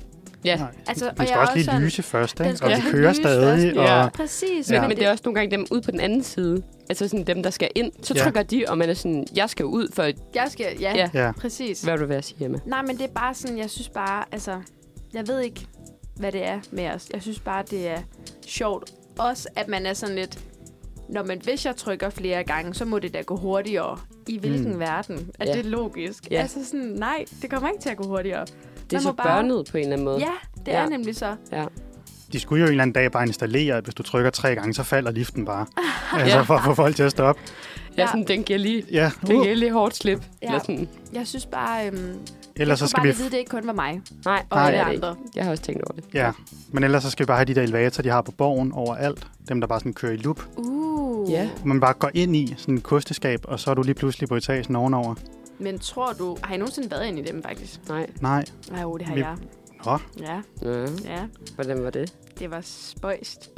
S1: Ja,
S2: nej.
S3: Altså,
S2: Den skal
S3: er
S2: også lige
S3: sådan-
S2: lyse først,
S3: Den
S2: ikke?
S3: skal
S2: Og vi
S3: også lige
S2: kører
S3: lyse
S2: stadig,
S3: først.
S2: og...
S1: Ja.
S2: Ja.
S3: Præcis.
S1: Men,
S2: Ja.
S1: ja. men det er også nogle gange dem ude på den anden side. Altså sådan dem, der skal ind. Så
S2: Ja.
S1: trykker de, og man er sådan, jeg skal ud, for
S3: Jeg skal, ja,
S1: Ja.
S3: ja.
S2: ja.
S3: præcis.
S1: hvad vil du være sige hjemme?
S3: Nej, men det er bare sådan, jeg synes bare, altså, jeg ved ikke, hvad det er med os. Jeg synes bare, det er sjovt. Også, at man er sådan lidt, når man, hvis jeg trykker flere gange, så må det da gå hurtigere. I hvilken
S2: Mm.
S3: mm. verden? Er
S1: Hmm. Ja.
S3: det logisk?
S1: Ja.
S3: Altså sådan, nej, det kommer ikke til at gå hurtigere.
S1: Det er
S3: Man
S1: så
S3: må
S1: bare... børnet på en eller anden måde.
S3: Ja, det
S1: Ja.
S3: er nemlig så.
S1: ja.
S2: De skulle jo en eller anden dag bare installere, at hvis du trykker tre gange, så falder liften
S3: <laughs>
S2: bare. altså for at få folk til at stoppe.
S1: ja
S3: Ja.
S1: sådan, den giver lige,
S2: Ja,
S1: den
S2: uh.
S1: giver lige hårdt slip. Ja. Eller sådan.
S3: Jeg synes bare, øhm,
S2: Ellers så
S3: jeg tror
S2: skal
S3: bare,
S2: vi...
S3: at vide, det ikke kun var mig.
S1: Nej, og
S2: Nej.
S1: det er det
S3: Andre.
S1: ikke. Jeg har også tænkt over det.
S2: Ja, men ellers så skal vi bare have de der elevatorer, de har på borgen overalt. Dem, der bare sådan kører i loop.
S3: Uh.
S1: Ja.
S2: Hvor man bare går ind i sådan et kosteskab, og så er du lige pludselig på etagen ovenover.
S3: Men tror du, har I nogensinde været inde i dem faktisk?
S1: Nej.
S2: Nej,
S3: Nej, jo, det har
S2: Vi-
S3: jeg.
S2: nå,
S3: Ja,
S1: Ja.
S3: ja.
S1: Hvordan var det?
S3: Det var spøjst.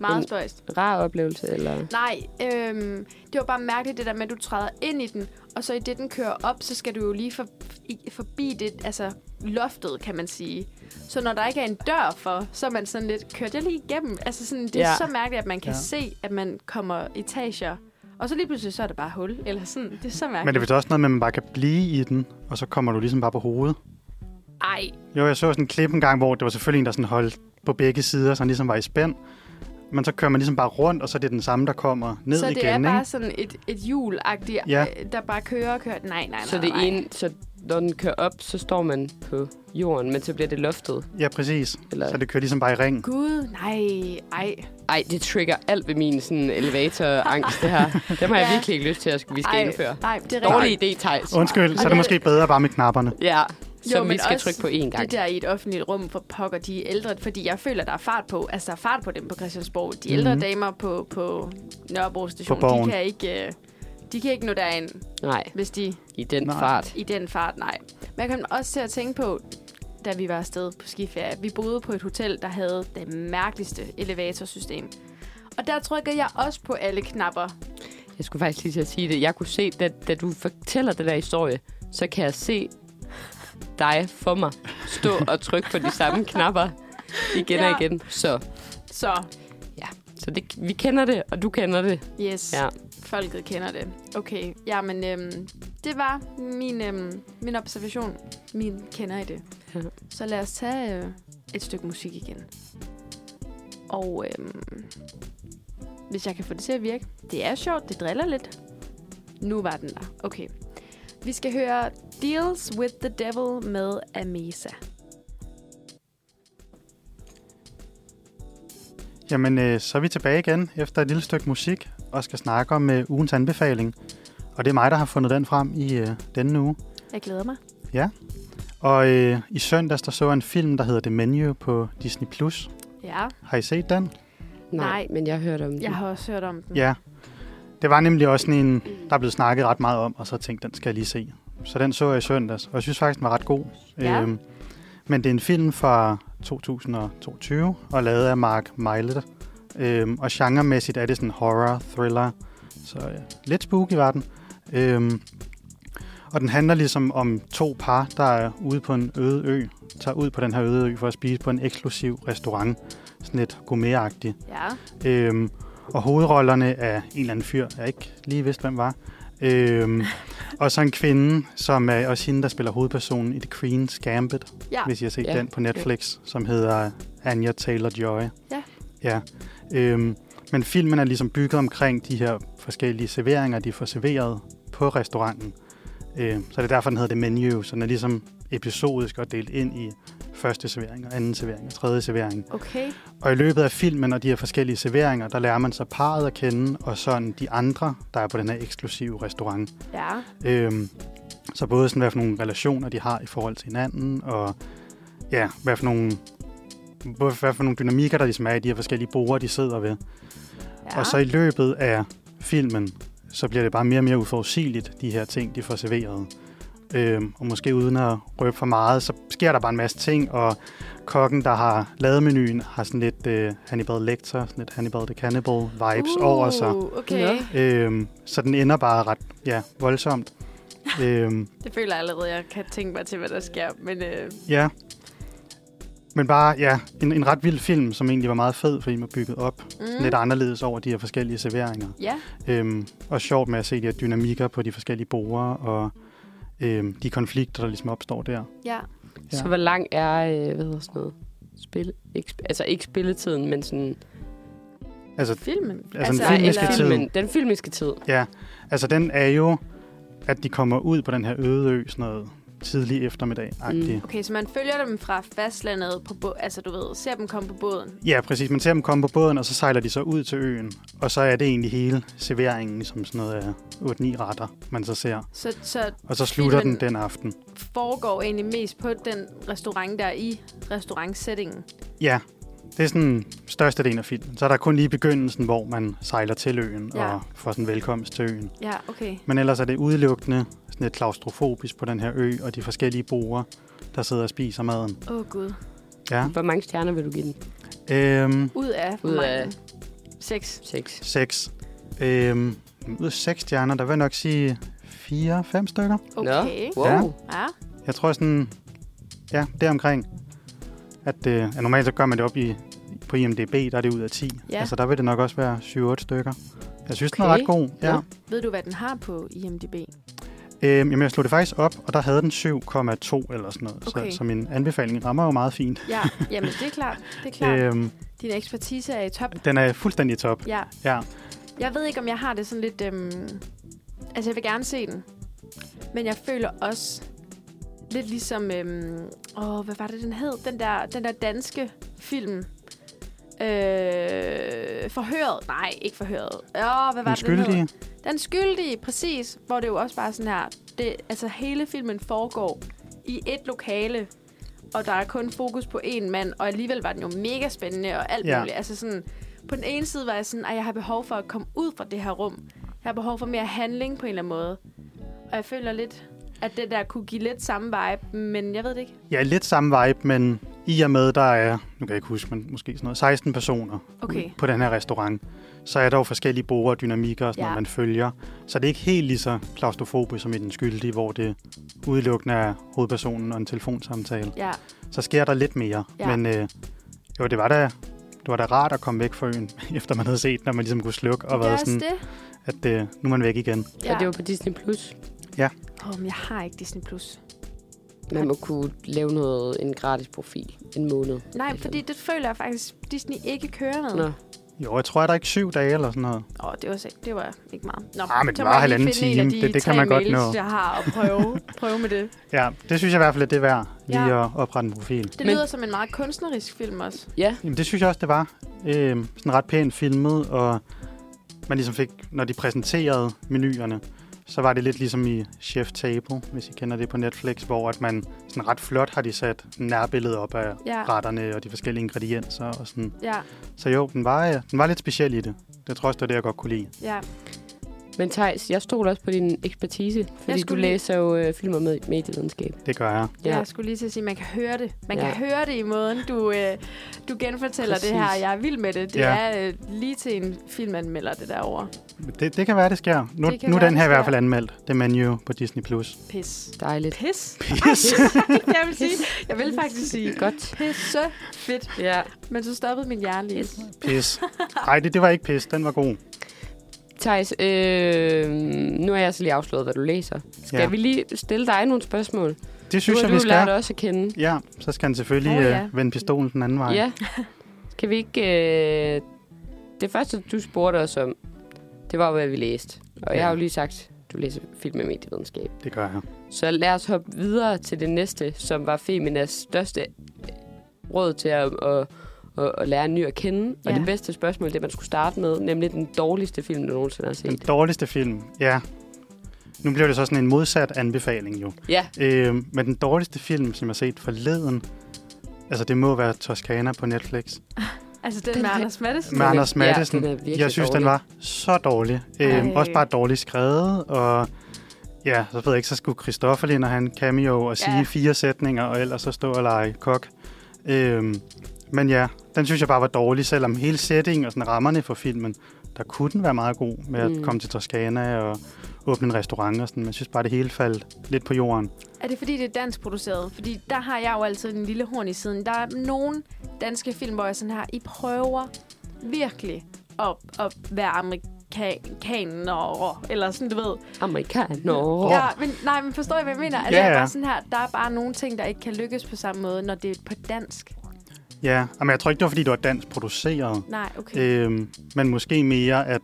S3: Meget
S1: Men-
S3: spøjst.
S1: Rar oplevelse, eller?
S3: Nej, øhm, det var bare mærkeligt, det der med, at du træder ind i den, og så i det, den kører op, så skal du jo lige for, i, forbi det, altså loftet, kan man sige. Så når der ikke er en dør for, så er man sådan lidt, kørte jeg lige igennem? Altså sådan, det er
S1: Ja.
S3: ja. så mærkeligt, at man kan
S2: Ja.
S3: ja. se, at man kommer etager, og så lige pludselig, så er der bare hul, eller sådan. Det er så
S2: men det er
S3: mærkeligt.
S2: vist også noget med, at man bare kan blive i den, og så kommer du ligesom bare på hovedet.
S3: Ej,
S2: Jo, jeg så sådan en klip en gang, hvor det var selvfølgelig en, der sådan holdt på begge sider, så han ligesom var i spænd. Men så kører man ligesom bare rundt, og så er det den samme, der kommer ned
S3: så
S2: igen.
S3: det er bare
S2: ikke?
S3: sådan et, et hjul-agtigt,
S2: Ja.
S3: ja. der bare kører og kører. Nej, nej, nej.
S1: Så det
S3: nej.
S1: ene, så når den kører op, så står man på jorden, men så bliver det loftet.
S2: Ja, præcis.
S1: Eller...
S2: Så det kører ligesom bare i ring.
S3: Gud, nej, ej.
S1: Ej, det trigger alt ved min sådan, elevator-angst, det
S3: <laughs>
S1: her. Dem har jeg
S3: Ja.
S1: virkelig ikke lyst til, at vi skal
S3: Ej,
S1: indføre.
S3: Nej, det er
S1: Dårlig
S3: rigtigt.
S1: idé, Thijs.
S2: Undskyld, så er
S3: Og
S2: det
S3: det-
S2: måske bedre bare med knapperne.
S1: Ja, som
S3: men
S1: vi skal
S3: også
S1: trykke på én gang.
S3: Det der i et offentligt rum for pokker, de er ældre, fordi jeg føler, der er fart på. Altså, der er fart på dem på Christiansborg. De ældre
S2: Mhm.
S3: damer på, på Nørrebro station,
S2: På Borgen.
S3: de kan ikke... øh, de kan ikke nå derind,
S1: Nej,
S3: hvis de
S1: i den
S2: Nej.
S1: Nej. fart.
S3: i den fart, nej. Men jeg kom også til at tænke på, da vi var afsted på skiferie. Vi boede på et hotel, der havde det mærkeligste elevatorsystem. Og der trykkede jeg også på alle knapper.
S1: Jeg skulle faktisk lige til at sige det. Jeg kunne se, da, da du fortæller den der historie, så kan jeg se dig for mig stå <laughs> og trykke på de samme knapper igen ja.
S3: Ja.
S1: og igen. Så,
S3: Så,
S1: så det, vi kender det, og du kender det.
S3: yes, ja.
S1: Ja.
S3: folket kender det. Okay, jamen, øhm, det var min, øhm, min observation. Min kender i det.
S1: Ja.
S3: Så lad os tage øh, et stykke musik igen. Og øhm, hvis jeg kan få det til at virke. Det er sjovt, det driller lidt. Nu var den der. Okay. Vi skal høre Deals with the Devil med Amesa.
S2: Jamen, øh, så er vi tilbage igen efter et lille stykke musik og skal snakke om øh, ugens anbefaling. Og det er mig, der har fundet den frem i øh, denne uge.
S3: Jeg glæder mig.
S2: Og øh, i søndags, der så jeg en film, der hedder The Menu på Disney+. Plus.
S3: Ja,
S2: Har I set den?
S1: Nej,
S3: Nej.
S1: Nej. men jeg hørte om det.
S3: jeg har også hørt om den.
S2: Ja. Det var nemlig også sådan en, der er blevet snakket ret meget om, og så tænkte den skal jeg lige se. Så den så jeg i søndags, og jeg synes faktisk, den var ret god.
S3: Ja.
S2: Øhm, men det er en film fra 2022, og lavet af Mark Meilet. Øhm, og genremæssigt er det sådan horror, thriller, så ja, lidt spooky var den. Øhm, og den handler ligesom om to par, der er ude på en øde ø, tager ud på den her øde ø for at spise på en eksklusiv restaurant, sådan lidt gourmetagtigt.
S3: Ja,
S2: Øhm, og hovedrollerne af en eller anden fyr, jeg ikke lige vidste, hvem var. Øhm, og så en kvinde, som er også hende, der spiller hovedpersonen i The Queen's Gambit,
S3: ja.
S2: hvis I har set
S1: Ja.
S2: den på Netflix, som hedder Anya Taylor-Joy.
S3: Ja.
S2: ja. Øhm, men filmen er ligesom bygget omkring de her forskellige serveringer, de får serveret på restauranten. Øhm, så det er derfor, den hedder The Menu, så den er ligesom episodisk og delt ind i første servering, og anden servering og tredje servering.
S3: okay.
S2: Og i løbet af filmen og de her forskellige serveringer, der lærer man så parret at kende, og sådan de andre, der er på den her eksklusive restaurant.
S3: Ja,
S2: Øhm, så både sådan, hvad for nogle relationer de har i forhold til hinanden, og ja, hvad for nogle, både hvad for nogle dynamikker, der ligesom er i de her forskellige borer, de sidder ved.
S3: ja.
S2: Og så i løbet af filmen, så bliver det bare mere og mere uforudsigeligt, de her ting, de får serveret. Øhm, og måske uden at røbe for meget, så sker der bare en masse ting, og kokken, der har lavet menuen, har sådan lidt øh, Hannibal Lecter, sådan lidt Hannibal the Cannibal vibes uh. over sig.
S3: Uh, Okay,
S1: Nå.
S2: Øhm, så den ender bare ret ja, voldsomt. øhm,
S3: det føler jeg allerede, jeg kan tænke mig til, hvad der sker. Men øh,
S2: ja. Men bare, ja, en, en ret vild film, som egentlig var meget fed, fordi man bygget op mm. lidt anderledes over de her forskellige serveringer.
S3: ja,
S2: Øhm, og sjovt med at se de her dynamikker på de forskellige borer, og øhm, de konflikter, der ligesom opstår der.
S3: ja.
S1: Så
S2: Ja.
S1: hvor lang er, øh, hvad hedder sådan noget, spil, ikke, sp- altså ikke spilletiden, men sådan,
S2: Altså,
S3: Filmen.
S2: Altså, den
S1: nej,
S2: filmiske
S1: eller-
S2: tid.
S1: filmen, den filmiske tid.
S2: altså den er jo, at de kommer ud på den her øde ø, sådan noget tidlig eftermiddag-agtigt. Mm.
S3: Okay, så man følger dem fra fastlandet på bo- altså du ved, ser dem komme på båden.
S2: Ja, præcis. Man ser dem komme på båden, og så sejler de så ud til øen. Og så er det egentlig hele serveringen, som sådan noget af 8-9 retter, man så ser.
S3: Så, så
S2: Og så slutter
S3: Filmen-
S2: den den aften.
S3: foregår egentlig mest på den restaurant, der er i restaurantsettingen.
S2: Ja, det er sådan største del af filmen. Så er der kun lige begyndelsen, hvor man sejler til øen
S3: Ja.
S2: ja. og får sådan velkomst til øen.
S3: Ja, okay.
S2: Men ellers er det udelukkende sådan lidt klaustrofobisk på den her ø, og de forskellige borer, der sidder og spiser maden.
S3: Åh oh, gud.
S2: Ja.
S1: Hvor mange stjerner vil du give den?
S2: Øhm,
S3: Ud af
S1: Ud af-
S3: Seks.
S1: Seks.
S2: seks. Øhm, ud af seks stjerner, der vil jeg nok sige fire, fem stykker.
S3: Okay.
S1: Nå, wow.
S2: Ja.
S1: Ja.
S3: Ja.
S2: Jeg tror sådan, ja, deromkring. At, øh, at normalt så gør man det op i, på IMDB, der er det ud af 10.
S3: Ja.
S2: Altså der vil det nok også være 7-8 stykker. Jeg synes, okay. den er
S1: Okay.
S2: ret god. Ja.
S1: Ja.
S3: Ved du, hvad den har på IMDb?
S2: Øhm, jamen, jeg slog det faktisk op, og der havde den 7,2 eller sådan noget.
S3: Okay.
S2: Så, så min anbefaling rammer jo meget fint.
S3: Ja, jamen det er klart. Det er klart. Øh.
S2: Øhm,
S3: Din ekspertise er i top.
S2: den er fuldstændig top.
S3: Ja.
S2: Ja.
S3: Jeg ved ikke, om jeg har det sådan lidt... Øhm... Altså, jeg vil gerne se den. Men jeg føler også lidt ligesom... Øhm... Åh, hvad var det, den hed? Den der, den der danske film. Øh... Forhøret. Nej, ikke forhøret. Åh, hvad var
S2: Den
S3: det, den hed?
S2: skyldige.
S3: Den skyldige, præcis. Hvor det jo også bare sådan her... Det, altså, hele filmen foregår i et lokale. Og der er kun fokus på én mand. Og alligevel var den jo mega spændende og alt
S2: Ja.
S3: ja. muligt. Altså sådan... På den ene side var jeg sådan, at jeg har behov for at komme ud fra det her rum. Jeg Jeg har behov for mere handling på en eller anden måde. Og jeg føler lidt, at det der kunne give lidt samme vibe, men jeg ved det ikke.
S2: Ja, lidt samme vibe, men i og med, der er, nu kan jeg ikke huske, men måske sådan noget, 16 personer
S3: Okay.
S2: på den her restaurant, så er der jo forskellige borer og dynamikker, og sådan
S3: Ja.
S2: ja. noget, man følger. Så det er ikke helt lige så klaustrofobisk som i Den Skyldige, hvor det udelukkende er hovedpersonen og en telefonsamtale.
S3: Ja,
S2: Så sker der lidt mere.
S3: Ja.
S2: Ja. Men øh, jo, det var da, det var da rart at komme væk fra øen, <laughs> efter man havde set, når man ligesom kunne slukke og
S3: det er
S2: været
S3: også
S2: sådan,
S3: det.
S2: at øh, nu er man væk igen.
S1: Ja. Og det var
S3: var...
S1: på Disney+. Plus.
S3: oh, men jeg har ikke Disney+. Plus.
S1: Man må kunne lave noget, en gratis profil en måned.
S3: Nej, fordi det føler jeg faktisk, Disney ikke kører med.
S1: Nå.
S2: Jo, jeg tror, at der er ikke syv dage eller sådan noget.
S3: Åh, det var, så- det var ikke meget. Nå,
S2: Ah, men det
S3: så
S2: var
S3: må jeg lige
S2: halvanden
S3: finde en af
S2: time.
S3: de
S2: Det- det kan
S3: tre
S2: man godt
S3: mails,
S2: nå.
S3: jeg har
S2: <laughs>
S3: at prøve, prøve med det.
S2: Ja, det synes jeg i hvert fald, at det er værd lige
S3: Ja.
S2: ja. at oprette en profil.
S3: Det
S1: Men-
S3: lyder som en meget kunstnerisk film også.
S1: Ja,
S2: Jamen, det synes jeg også, det var. Øh, sådan ret pænt filmet, og man ligesom fik, når de præsenterede menuerne, så var det lidt ligesom i Chef Table, hvis I kender det på Netflix, hvor at man sådan ret flot har de sat nærbilledet op af
S3: Ja.
S2: retterne og de forskellige ingredienser og sådan.
S3: Ja,
S2: Så jo, den var, øh, den var lidt speciel i det. Det tror jeg også, det var det, jeg godt kunne lide.
S3: ja.
S1: men Thijs, jeg stoler også på din ekspertise, fordi du
S3: skulle lige-
S1: læser jo øh, film og med- medievidenskab.
S2: Det gør jeg.
S3: Ja. Jeg skulle lige til at sige, at man kan høre det. Man ja.
S1: Ja.
S3: kan høre det i måden, du, øh, du genfortæller Præcis. det her.
S1: Præcis.
S3: Jeg er vild med det. Det ja.
S2: Ja.
S3: er øh, lige til en filmanmelder, det derovre.
S2: Det, det kan være, det sker. Nu,
S3: Det kan
S2: nu er
S3: være,
S2: den
S3: det
S2: her i hvert
S3: sker.
S2: fald anmeldt. Det menu på Disney+.
S3: <laughs>
S2: Plus.
S3: Pis.
S1: Dejligt.
S3: <laughs> Pis?
S2: Pis.
S3: Det kan jeg vil sige. Jeg vil faktisk <laughs> sige
S1: Godt.
S3: pisse fedt.
S1: Ja.
S3: Men så stoppede min hjerne lige.
S2: Pis. Nej, det, det var ikke pis. Den var god.
S1: Thijs, øh, nu er jeg så lige afsløret, hvad du læser. Skal
S2: Ja.
S1: ja. vi lige stille dig nogle spørgsmål?
S2: Det
S1: Nu
S2: synes
S1: har
S2: jeg,
S1: du jo
S2: vi
S1: lært
S2: skal.
S1: også at kende.
S2: Ja, så skal han selvfølgelig
S3: Åh,
S2: oh,
S3: ja.
S2: ja. øh, vende pistolen den anden vej.
S1: Ja. Kan vi ikke... Øh, det første, du spurgte os om, det var, hvad vi læste. Og
S2: Ja.
S1: jeg har jo lige sagt, du læser film og medievidenskab.
S2: Det gør jeg.
S1: Så lad os hoppe videre til det næste, som var Feminas største øh, råd til at, at, at, at lære en ny at kende. Ja.
S3: Ja.
S1: Og det bedste spørgsmål, det man skulle starte med, nemlig den dårligste film, du nogensinde har
S2: Den
S1: set.
S2: dårligste film, ja. Nu bliver det så sådan en modsat anbefaling jo.
S1: Ja,
S2: Øh, men den dårligste film, som jeg har set forleden, altså det må være Toscana på Netflix.
S3: Altså den,
S1: Den
S3: med
S1: er-
S3: Anders Madsen.
S2: Med Anders
S1: ja, den er
S2: Madsen.
S1: virkelig
S2: jeg synes, den
S1: dårlig.
S2: var så dårlig. Øh,
S3: Ej.
S2: også bare dårligt skrevet, og ja, så ved jeg ikke, så skulle Christoffer lige, når han cameo og sige
S3: Ja.
S2: ja. fire sætninger, og ellers så stå og lege kok. Øh, men ja, den synes jeg bare var dårlig, selvom hele setting og sådan rammerne for filmen, der kunne den være meget god med at
S1: Mm.
S2: komme til Toscana og åbne en restaurant og sådan. Men jeg synes bare, det hele faldt lidt på jorden.
S3: Er det fordi, det er dansk produceret? Fordi der har jeg jo altid en lille horn i siden. Der er nogle danske film, hvor jeg sådan her, I prøver virkelig at, at være amerikaner, eller sådan, du ved.
S1: amerikaner.
S3: Ja, men, nej, men forstår I, hvad jeg mener? Altså,
S2: Ja,
S3: jeg er
S2: ja.
S3: bare sådan her, der er bare nogle ting, der ikke kan lykkes på samme måde, når det er på dansk.
S2: Ja, men jeg tror ikke, det var, fordi det var dansk produceret.
S3: Nej, okay.
S2: Øhm, men måske mere, at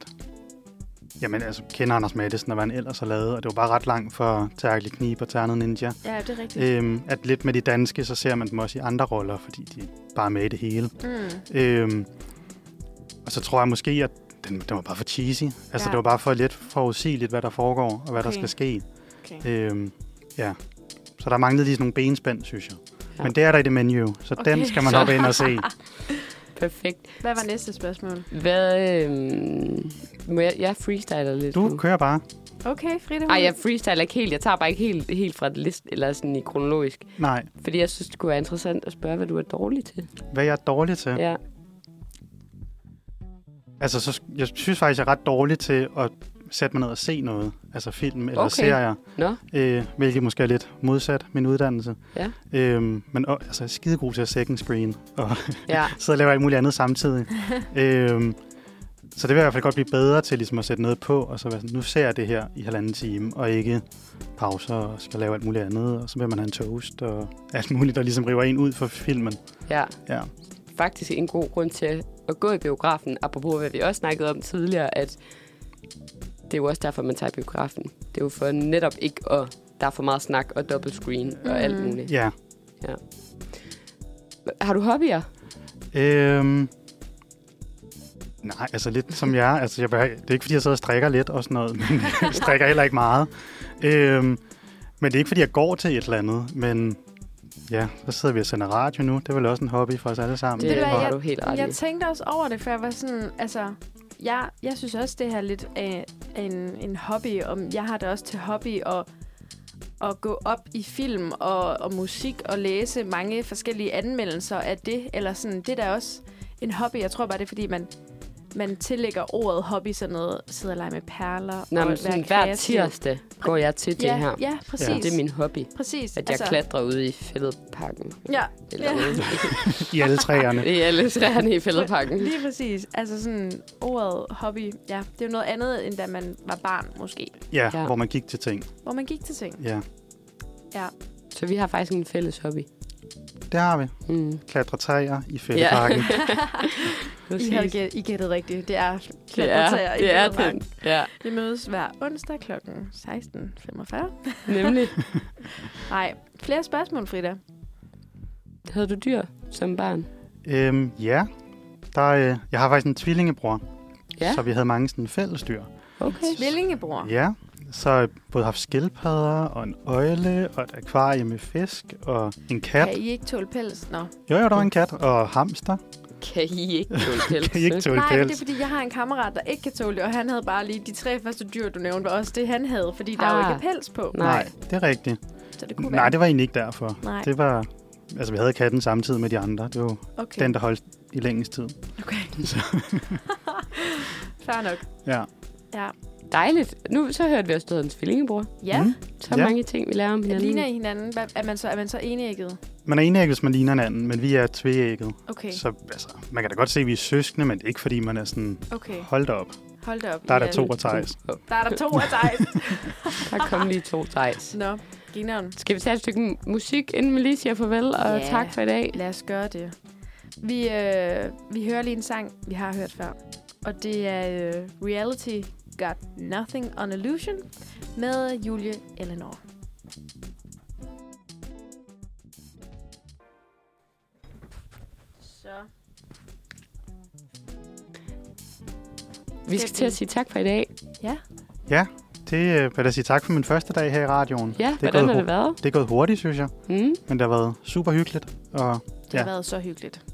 S2: jamen, altså, kender Anders Mattesen og hvad han ellers har lavet, og det var bare ret langt for Terkel Knib og Ternet Ninja.
S3: Ja, det er rigtigt.
S2: Øhm, at lidt med de danske, så ser man dem også i andre roller, fordi de bare er med i det hele.
S3: Mm.
S2: Øhm, og så tror jeg måske, at den, den var bare for cheesy. Altså,
S3: Ja.
S2: ja. det var bare for lidt forudsigeligt, hvad der foregår og hvad okay. der skal
S3: Okay.
S2: ske.
S3: Okay.
S2: Øhm, ja. Så der manglede lige sådan nogle benspænd, synes jeg.
S1: Ja.
S2: Ja. Men det er der i det menu, så
S3: Okay.
S2: okay. den skal man
S1: Så-
S2: hoppe ind og <laughs> se.
S1: Perfekt.
S3: Hvad var næste spørgsmål?
S1: Hvad, øhm, må jeg, jeg freestyler lidt
S2: Du
S1: nu.
S2: kører bare.
S3: Okay, Frida.
S1: Ej, jeg freestyler ikke helt. Jeg tager bare ikke helt, helt fra et list, eller sådan i kronologisk.
S2: Nej,
S1: Fordi jeg synes, det kunne være interessant at spørge, hvad du er dårlig til.
S2: hvad jeg er dårlig til.
S1: Ja.
S2: Altså, så, sk- jeg synes faktisk, jeg er ret dårlig til at sætte mig ned og se noget. Altså film eller
S1: Okay.
S2: okay. serier.
S1: Nå.
S2: Øh, hvilket måske er lidt modsat min uddannelse.
S1: Ja.
S2: Øhm, men og, altså, jeg er skidegod til at second screen. Og <laughs>
S1: Ja.
S2: sidde og lave alt muligt andet <laughs> samtidig. øhm, så det vil jeg i hvert fald godt blive bedre til ligesom at sætte noget på. Og så være sådan, nu ser jeg det her i halvanden time. Og ikke pauser og skal lave alt muligt andet. Og så vil man have en toast og alt muligt, der ligesom river en ud for filmen.
S1: ja.
S2: Ja.
S1: Faktisk en god grund til at gå i biografen. Apropos, hvad vi også snakkede om tidligere, at det er jo også derfor, man tager i biografen. Det er jo for netop ikke at der er for meget snak og dobbelt screen og alt
S3: Mhm.
S1: muligt.
S2: Ja.
S1: Har du hobbyer?
S2: Øhm, nej, altså lidt som jeg. Altså, jeg behøver, det er ikke, fordi jeg sidder og strikker lidt og sådan noget, men jeg strikker heller ikke meget. Øhm, men det er ikke, fordi jeg går til et eller andet, men ja, så sidder vi og sender radio nu. Det er vel også en hobby for os alle sammen.
S3: Ved du
S1: Det
S3: hvad,
S1: har
S3: jeg-
S1: du helt ret i.
S3: Jeg tænkte også over det, for jeg var sådan, altså... jeg, jeg synes også, det her er lidt af, af en, en hobby. Og jeg har det også til hobby at, at gå op i film og, og musik og læse mange forskellige anmeldelser af det. Eller sådan, det er da også en hobby. Jeg tror bare, det er fordi, man, man tillægger ordet hobby sådan noget. Sidde og lege med perler
S1: Nå,
S3: og
S1: men
S3: være
S1: sådan, hver
S3: kreativ.
S1: tirsdag går jeg til det
S3: ja,
S1: her.
S3: Ja, præcis.
S1: Det er min hobby.
S3: Præcis.
S1: At jeg altså, klatrer ude i fældeparken.
S3: Ja,
S1: Eller
S3: ja.
S1: ude
S2: i alle træerne.
S3: <laughs>
S1: i alle træerne i fældeparken.
S3: Lige præcis. Altså sådan ordet hobby, ja, det er jo noget andet, end da man var barn måske.
S2: Ja,
S1: Ja.
S2: ja, hvor man gik til ting.
S3: Hvor man gik til <laughs> ting.
S2: Ja,
S3: Ja.
S1: Så vi har faktisk en fælles hobby.
S2: det har vi.
S1: Mm.
S2: Klatre træer i fældeparken. Ja.
S3: I, havde gæ- I gættede rigtigt. Det er
S1: det er,
S3: klatretræer i
S1: det er
S3: Fælledparken.
S1: den. Ja,
S3: Vi mødes hver onsdag kl. 16.45.
S1: nemlig.
S3: Nej, flere spørgsmål, Frida.
S1: Havde du dyr som barn?
S2: øhm, ja. Der, øh, jeg har faktisk en tvillingebror,
S1: Ja,
S2: så vi havde mange sådan fælles dyr.
S1: okay.
S3: Tvillingebror.
S2: Ja, så har jeg både haft skildpadder og en øjle og et akvarie med fisk og en kat.
S3: Kan I ikke tåle pels? Nå.
S2: Jo, jo, der var en kat og hamster.
S1: Kan I ikke
S2: <laughs>
S1: tåle pels?
S2: Kan I ikke tåle
S3: Nej, det er
S2: pels?
S3: fordi, jeg har en kammerat, der ikke kan tåle det, og han havde bare lige de tre første dyr, du nævnte, var også det, han havde, fordi der er
S1: Ah.
S3: jo ikke pels på.
S1: Nej.
S2: Nej, det er rigtigt.
S3: Så det kunne
S2: Nej,
S3: være.
S2: det var egentlig ikke derfor.
S3: Nej.
S2: Det var... Altså, vi havde katten samtidig med de andre. Det var jo
S3: Okay.
S2: den, der holdt i længst tid.
S3: Okay.
S2: <laughs>
S3: Fair nok.
S2: Ja.
S3: Ja.
S1: Dejligt. Nu så hørte vi også, at du havde en tvillingebror.
S3: Ja, mm.
S1: Så
S2: Ja.
S1: mange ting, vi lærer om hinanden.
S3: ligner I hinanden? Hvad, er man så, er man så enægget?
S2: Man er enægget, hvis man ligner hinanden, men vi er tveægget.
S3: Okay,
S2: Så altså, man kan da godt se, at vi er søskende, men det er ikke fordi, man er sådan,
S3: okay.
S2: hold da op.
S3: Hold da op.
S2: Der er der
S3: Jan.
S2: to og Thijs.
S3: Der er der to af
S1: <laughs>
S3: dig.
S1: Der kom lige to tejs.
S3: Nå, grineren.
S1: Skal vi tage et stykke musik, inden vi lige siger farvel, og
S3: Ja.
S1: tak for i dag.
S3: Lad os gøre det. Vi, øh, vi hører lige en sang, vi har hørt før. Og det er øh, Reality Got Nothing on Illusion med Julie Eleanor. Så.
S1: Vi skal til at sige tak for i dag.
S2: Det øh, vil jeg da sige tak for min første dag her i radioen.
S1: Ja,
S2: det er
S1: hvordan
S2: gået,
S1: har det
S2: hu-
S1: været?
S2: det er gået hurtigt, synes jeg.
S1: Mm,
S2: Men det har været super hyggeligt. Og
S3: Det har
S2: Ja.
S3: været så hyggeligt.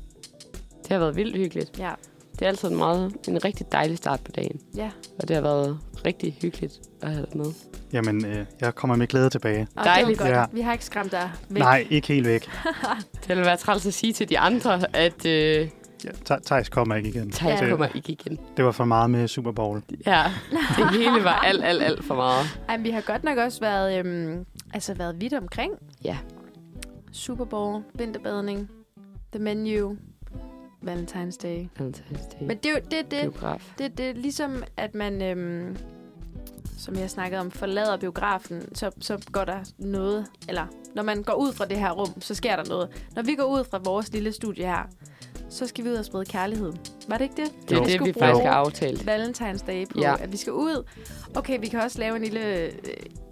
S1: det har været vildt hyggeligt.
S3: Ja.
S1: Det er altid en, meget, en rigtig dejlig start på dagen.
S3: Ja.
S1: Og det har været rigtig hyggeligt at have dig med.
S2: jamen, øh, jeg kommer med glæde tilbage.
S3: Og
S1: Dejligt.
S3: Det var godt.
S2: Ja.
S3: Vi har ikke skræmt dig væk.
S2: Nej,
S3: <laughs>
S2: ikke helt væk.
S1: Det ville være træls at sige til de andre, at øh,
S2: Ja, Thij- Thijs kommer ikke igen.
S1: Thijs
S2: Det-
S1: kommer ikke igen.
S2: Det var for meget med Super Bowl.
S1: Ja, det hele var alt, alt, alt for meget.
S3: Ej, men vi har godt nok også været, øhm, altså været vidt omkring.
S1: Ja.
S3: Super Bowl, vinterbadning, The Menu, Valentine's Day.
S1: Fantastisk.
S3: Men det er jo det, er det,
S1: Biograf.
S3: det, er det er ligesom, at man, øhm, som jeg snakkede om, forlader biografen, så, så går der noget, eller når man går ud fra det her rum, så sker der noget. Når vi går ud fra vores lille studie her, så skal vi ud og sprede kærlighed. Var det ikke det?
S1: Det er
S2: Jo.
S1: det,
S3: skulle
S1: vi faktisk
S3: bruge-
S1: har aftalt.
S3: Valentine's Day på,
S1: Ja.
S3: ja. at vi skal ud. Okay, vi kan også lave en lille, øh,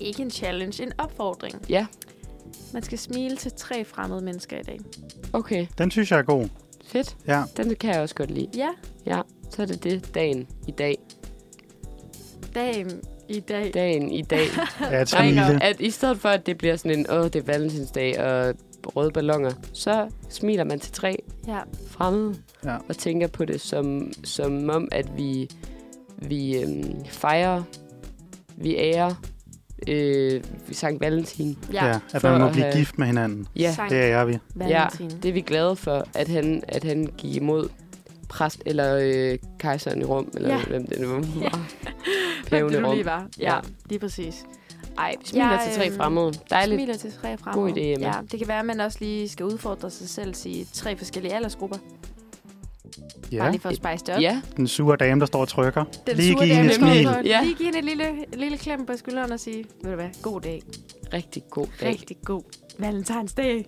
S3: ikke en challenge, en opfordring.
S1: Ja.
S3: Man skal smile til tre fremmede mennesker i dag.
S1: Okay,
S2: Den synes jeg er
S3: <laughs>
S2: god.
S1: fedt.
S2: Ja,
S1: Den kan jeg også godt lide.
S3: Ja,
S1: Ja, så er det det. Dagen i dag.
S3: dagen i dag.
S1: Dagen i
S2: <laughs>
S1: dag.
S2: at smile.
S1: bringer, at i stedet for, at det bliver sådan en, åh, det er valentinsdag og røde ballonger, så smiler man til tre
S3: Ja,
S1: fremmede ja.
S2: Ja.
S1: og tænker på det som, som om, at vi, vi øhm, fejrer, vi ærer øh, Sankt Valentin.
S3: ja. øh, ja.
S2: Ja, at
S1: For
S2: man må
S1: at
S2: blive
S1: have-
S2: gift med hinanden.
S1: Ja,
S3: Sankt
S2: Det er vi.
S3: Valentin.
S1: ja det er vi glade for, at han, at han gik imod præst eller øh, kejseren i Rom, eller
S3: <laughs> Ja.
S1: ja. hvem det nu <laughs> var. Ja.
S3: Hvem
S1: Paven i
S3: det nu
S1: Rom.
S3: lige var. Ja,
S1: Ja.
S3: ja. lige præcis. Ej,
S1: Smiler ja, til tre
S3: øhm,
S1: fremmede. Dejligt.
S3: Smiler til tre fremmede.
S1: God idé, Emma.
S3: Ja, det kan være, at man også lige skal udfordre sig selv sige tre forskellige aldersgrupper. Ja. Bare
S2: Ja,
S3: lige for at spice det op.
S1: Ja,
S2: den sure dame, der står og trykker.
S3: Den
S2: lige
S3: sure
S2: give hende
S3: dame,
S2: et
S3: der står
S2: smil.
S3: for-
S1: Ja.
S3: Lige give hende et lille, et lille klem på skulderen og sige, ved du hvad, god dag.
S1: rigtig god dag.
S3: Rigtig god Valentinsdag.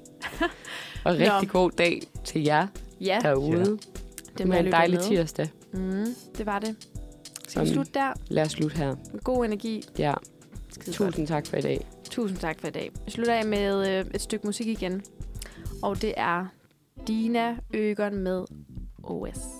S1: Og rigtig god dag til jer
S3: Ja,
S1: derude. Det
S3: må
S1: var
S3: jeg
S1: en
S3: løbe
S1: dejlig
S3: med.
S1: tirsdag.
S3: Mm, det var det. Skal vi
S1: Sådan.
S3: slutte der?
S1: Lad os slutte her.
S3: God energi.
S1: Ja,
S3: Skide godt.
S1: tusind tak for i dag.
S3: Tusind tak for i dag. Vi slutter af med øh, et stykke musik igen. Og det er Dina Øgeren med OS.